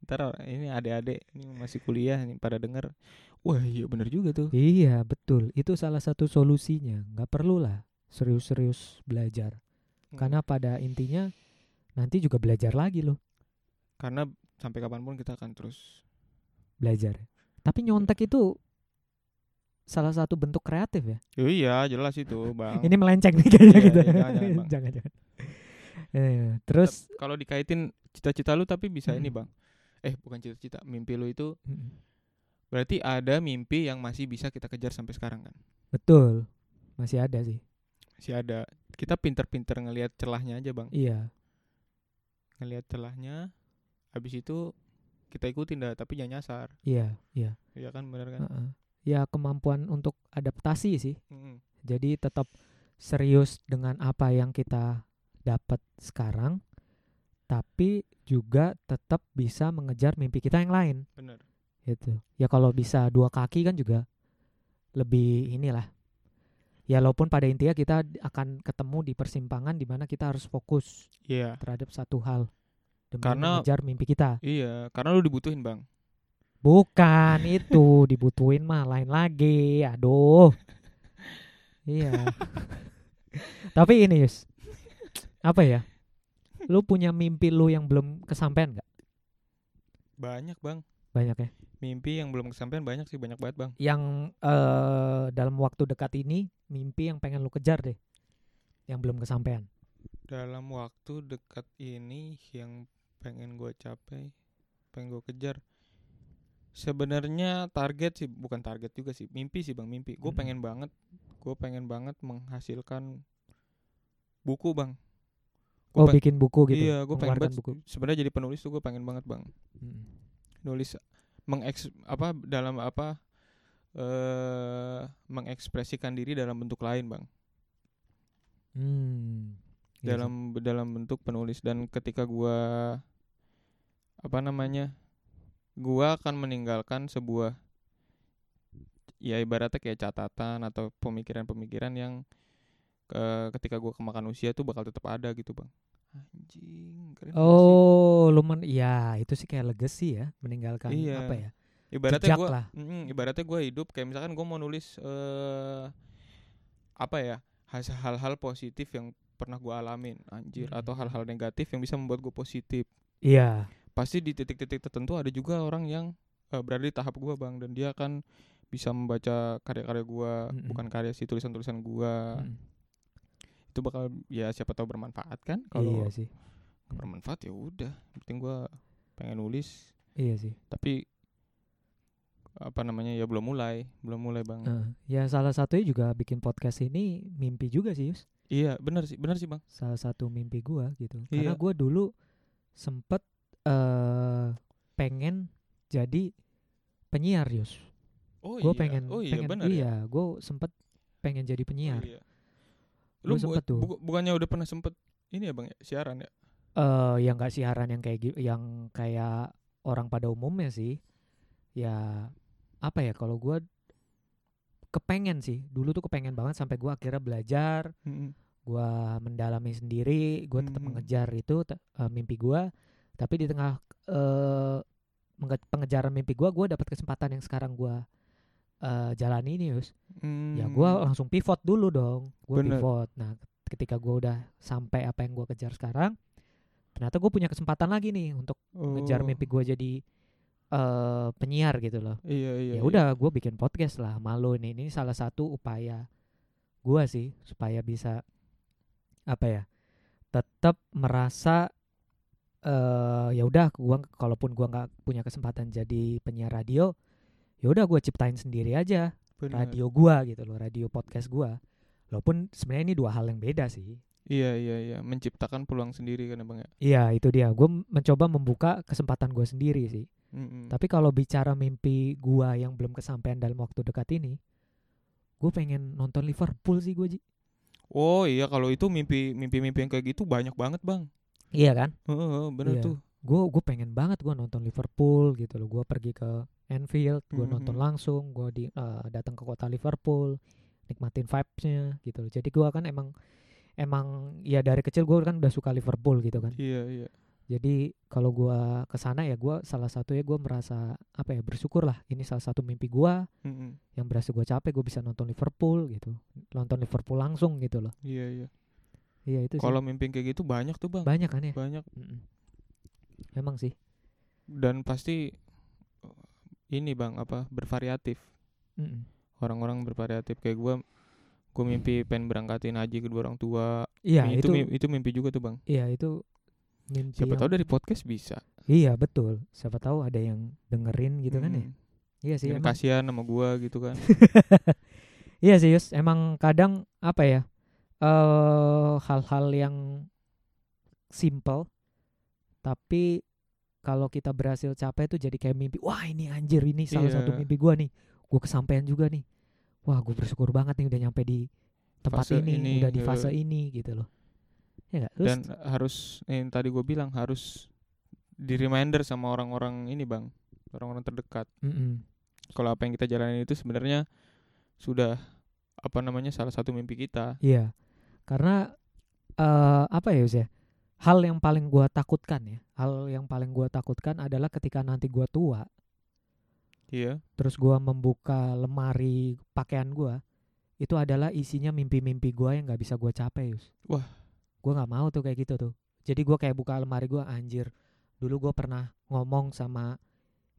ntar or- ini adik-adik ini masih kuliah nih pada denger wah iya bener juga tuh
Iya betul, itu salah satu solusinya. Nggak perlu lah serius-serius belajar,
Hmm.
karena pada intinya nanti juga belajar lagi loh,
karena sampai kapanpun kita akan terus
belajar. Tapi nyontek itu salah satu bentuk kreatif ya.
Ya iya jelas itu bang
Ini melenceng nih kayaknya
Iya,
gitu.
iya, jangan-jangan, Bang.
Jangan-jangan. Eh, terus.
kalau dikaitin cita-cita lu tapi bisa ini
Mm.
bang eh bukan cita-cita mimpi lu itu
Mm.
berarti ada mimpi yang masih bisa kita kejar sampai sekarang kan
Betul, masih ada sih.
masih ada kita pinter-pinter ngelihat celahnya aja bang
Iya,
ngelihat celahnya habis itu kita ikutin dah tapi jangan nyasar
iya, iya.
ya kan bener kan
Heeh. Ya kemampuan untuk adaptasi sih.
Mm-mm.
Jadi tetap serius dengan apa yang kita dapat sekarang, tapi juga tetap bisa mengejar mimpi kita yang lain.
bener
Gitu. Ya kalau bisa dua kaki kan juga lebih inilah. Ya walaupun pada intinya kita akan ketemu di persimpangan di mana kita harus fokus
iya
terhadap satu hal demi
Karena-
mengejar mimpi kita.
iya karena lu dibutuhin bang
Bukan itu dibutuhin mah lain lagi. Aduh. Iya. Tapi ini Yus. Apa ya? Lu punya mimpi lu yang belum kesampaian nggak?
banyak bang
Banyak ya.
mimpi yang belum kesampaian banyak sih banyak banget bang
Yang eh dalam waktu dekat ini mimpi yang pengen lu kejar deh. Yang belum kesampaian.
dalam waktu dekat ini yang pengen gue capai pengen gue kejar sebenarnya target sih bukan target juga sih mimpi sih bang mimpi gue
Mm-mm.
pengen banget gue pengen banget menghasilkan buku bang Gua
Oh,
peng-
bikin buku gitu.
iya gue pengen
mengeluarkan
banget
buku.
sebenarnya jadi penulis tuh gue pengen banget bang
Mm.
nulis mengeks apa dalam apa eh mengekspresikan diri dalam bentuk lain bang
Hmm. Iya sih.
dalam dalam bentuk penulis dan ketika gua apa namanya gua akan meninggalkan sebuah ya ibaratnya kayak catatan atau pemikiran-pemikiran yang eh, ketika gua kemakan usia tuh bakal tetap ada gitu bang anjing keren banget sih.
Oh, lumen iya, itu sih kayak legacy ya, meninggalkan
Iya.
apa ya?
ibaratnya
jejak
gua
lah.
Mm, ibaratnya gua hidup kayak misalkan gua mau nulis eh apa ya has- hal-hal positif yang pernah gua alamin anjir
Mm.
atau hal-hal negatif yang bisa membuat gua positif
Iya.
pasti di titik-titik tertentu ada juga orang yang eh, berada di tahap gua bang dan dia kan bisa membaca karya-karya gua
Mm-mm.
bukan karya sih tulisan-tulisan gua
Mm.
itu bakal ya siapa tahu bermanfaat kan
Iya
kalau
sih.
bermanfaat ya udah Yang penting gua pengen nulis
Iya sih.
tapi apa namanya ya belum mulai belum mulai bang
Heeh. ya salah satunya juga bikin podcast ini mimpi juga sih, Yus.
Iya, benar sih, benar sih, Bang.
Salah satu mimpi gua gitu.
Iya.
Karena gua dulu sempet eh pengen jadi penyiar, Yus.
Oh
Gue pengen
Oh iya,
pengen
benar ya.
iya, gue sempet pengen
Oh,
jadi penyiar.
iya. Lu
Gua
bu-
sempet tuh.
bu- bukannya udah pernah sempet ini ya, Bang, ya, siaran ya?
eh yang gak siaran yang kayak gi- yang kayak orang pada umumnya sih ya apa ya kalau gua kepengen sih dulu tuh kepengen banget sampai gua akhirnya belajar
Hmm.
gua mendalami sendiri gua tetap
Mhm.
mengejar itu te- eh, mimpi gua tapi di tengah eh menge- pengejaran mimpi gua gua dapat kesempatan yang sekarang gua eh jalani ini Yus ya
Hmm.
gua langsung pivot dulu dong gue
Bener.
pivot nah ketika gua udah sampai apa yang gua kejar sekarang ternyata gue punya kesempatan lagi nih untuk
Oh,
ngejar mimpi gua jadi eh penyiar gitu loh
Iya, iya.
ya
iya.
udah gua bikin podcast lah malu nih ini salah satu upaya gua sih supaya bisa apa ya tetap merasa eh ya udah gua kalaupun gua nggak punya kesempatan jadi penyiar radio ya udah gua ciptain sendiri aja
Bener.
radio gua gitu loh, radio podcast gua. Walaupun sebenarnya ini dua hal yang beda sih.
Iya, iya, iya, menciptakan peluang sendiri kan, Bang ya.
Iya, itu dia. Gue mencoba membuka kesempatan gue sendiri sih.
Mm-mm.
Tapi kalau bicara mimpi gua yang belum kesampaian dalam waktu dekat ini, gue pengen nonton Liverpool sih gue, Ji.
Oh, iya kalau itu mimpi mimpi-mimpi yang kayak gitu banyak banget, Bang.
Iya kan?
Heeh, heeh, bener
Iya.
tuh.
Gue gue pengen banget gua nonton Liverpool gitu loh. Gue pergi ke Anfield, gue
Mhm.
nonton langsung, gue di eh, datang ke kota Liverpool, nikmatin vibes-nya gitu loh. Jadi gua kan emang emang ya dari kecil gue kan udah suka Liverpool gitu kan.
Iya, iya.
Jadi kalau gua ke sana ya gua salah satunya gua merasa apa ya bersyukur lah ini salah satu mimpi gua
Mm-mm.
yang berhasil gua capai gue bisa nonton Liverpool gitu. Nonton Liverpool langsung gitu loh.
Iya, iya.
Iya itu sih.
Kalau mimpi yang kayak gitu banyak tuh, Bang.
banyak kan ya?
Banyak
Mm-mm. Memang sih.
dan pasti eh, ini, Bang, apa bervariatif.
Mm-mm.
orang-orang bervariatif kayak gua gua mimpi pengen berangkatin haji kedua orang tua
Iya
itu
itu,
mi- itu mimpi juga tuh bang
iya itu mimpi
siapa
yang-
tahu dari podcast bisa
Iya betul. Siapa tahu ada yang dengerin gitu kan ya.
Mm.
Iya sih.
Dan
Emang,
kasihan sama gua gitu kan
iya sih Yus. Emang kadang apa ya? eh hal-hal yang simple tapi kalau kita berhasil capai itu jadi kayak mimpi. Wah, ini anjir ini salah
Iya.
satu mimpi gua nih. Gua kesampaian juga nih. Wah, gue bersyukur banget nih udah nyampe di tempat
Fase
ini,
ini,
udah di
iya.
fase ini gitu loh. Ya enggak?
dan harus eh, yang tadi gua bilang harus di reminder sama orang-orang ini bang orang-orang terdekat kalau apa yang kita jalani itu sebenarnya sudah apa namanya salah satu mimpi kita
Iya, karena eh apa ya Yus ya? Hal yang paling gua takutkan ya, hal yang paling gua takutkan adalah ketika nanti gua tua,
iya
terus gua membuka lemari pakaian gua, itu adalah isinya mimpi-mimpi gua yang nggak bisa gua capai Yus.
Wah.
gua nggak mau tuh kayak gitu tuh. Jadi gua kayak buka lemari gua anjir. Dulu gua pernah ngomong sama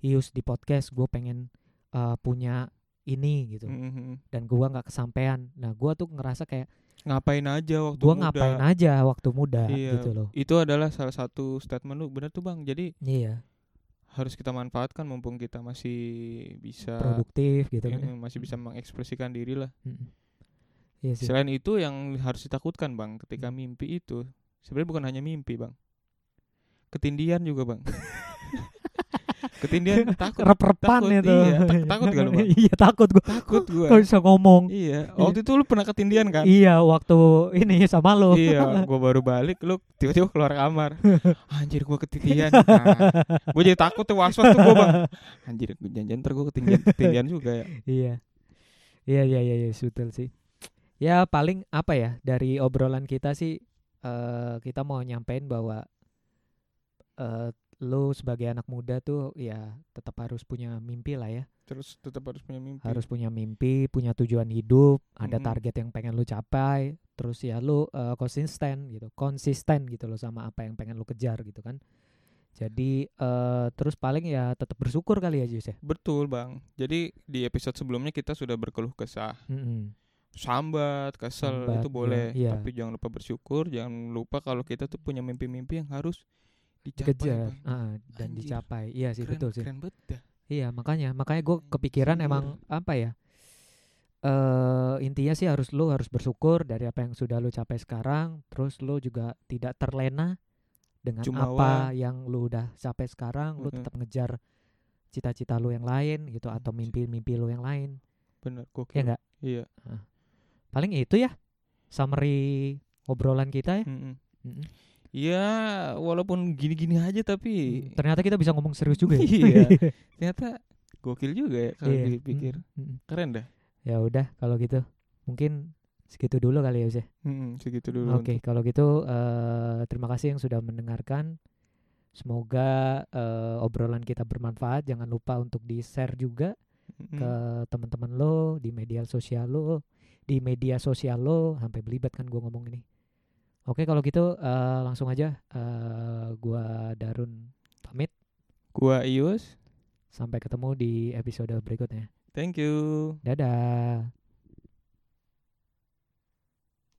Yus di podcast, gue pengen eh, punya ini gitu,
Mhm.
dan gua nggak kesampaian. Nah, gua tuh ngerasa kayak
ngapain aja waktu
gua
muda
ngapain aja waktu muda
Iya.
gitu loh
itu adalah salah satu statement lu benar tuh bang jadi
iya
harus kita manfaatkan mumpung kita masih bisa
produktif gitu kan ya.
eh, masih bisa mengekspresikan diri lah.
Mm-mm. iya Hmm. sih
Selain itu yang harus ditakutkan bang, ketika mimpi itu sebenarnya bukan hanya mimpi bang, ketindian juga bang. ketindian takut.
rep-repan
takut,
itu
iya. Tak- takut gak lu, Bang?
iya takut gua
Takut gua.
gak bisa ngomong
Iya. Waktu itu lu pernah ketindian kan?
iya waktu ini sama lo
iya. Gua baru balik, lu tiba-tiba keluar kamar. Anjir gua ketindian. Nah, gua jadi takut tuh was-was tuh gua bang. Anjir, janjian ntar gua ketindian, ketindian juga ya.
iya Iya iya iya iya, betul sih. Ya paling apa ya dari obrolan kita sih eh kita mau nyampein bahwa eh lo sebagai anak muda tuh ya tetap harus punya mimpi lah ya.
Terus tetap harus punya mimpi.
Harus punya mimpi, punya tujuan hidup,
Iya.
ada
Mm-mm.
target yang pengen lu capai, terus ya lu eh, konsisten gitu, konsisten gitu loh sama apa yang pengen lu kejar gitu kan. Jadi eh terus paling ya tetap bersyukur kali ya Jus ya.
Betul bang. Jadi di episode sebelumnya kita sudah berkeluh kesah,
Mm-mm.
sambat, kesel
Sambat,
itu boleh.
iya, iya.
Tapi jangan lupa bersyukur, jangan lupa kalau kita tuh punya mimpi-mimpi yang harus dicapai.
dikejar
Bang.
ah, dan
Anjir.
dicapai iya sih
Keren,
betul sih
keren banget dah.
iya makanya makanya gue kepikiran
Anjir.
emang apa ya eh intinya sih harus lu harus bersyukur dari apa yang sudah lu capai sekarang terus lu juga tidak terlena dengan
Jumawa.
apa yang lu udah capai sekarang lu
Mm-mm.
tetap ngejar cita-cita lu yang lain gitu atau
Anjir.
mimpi-mimpi lu yang lain
Bener, gokil.
ya enggak
Iya.
paling itu ya summary obrolan kita ya
mm-mm.
Mm-mm.
Iya, walaupun gini-gini aja tapi
Hmm, ternyata kita bisa ngomong serius juga ya
Iya. ternyata gokil juga ya kalau
Iya.
dipikir.
Mm-mm.
Keren dah.
Ya udah kalau gitu mungkin segitu dulu kali ya Yus ya.
Mm-mm, segitu dulu.
Oke kalau gitu eh, terima kasih yang sudah mendengarkan. Semoga eh, obrolan kita bermanfaat. Jangan lupa untuk di share juga
Mm-mm.
ke teman-teman lo di media sosial lo, di media sosial lo sampai belibet kan gue ngomong ini. Oke kalau gitu eh, langsung aja eh, gua Darun pamit.
Gua Ius.
Sampai ketemu di episode berikutnya.
Thank you.
Dadah.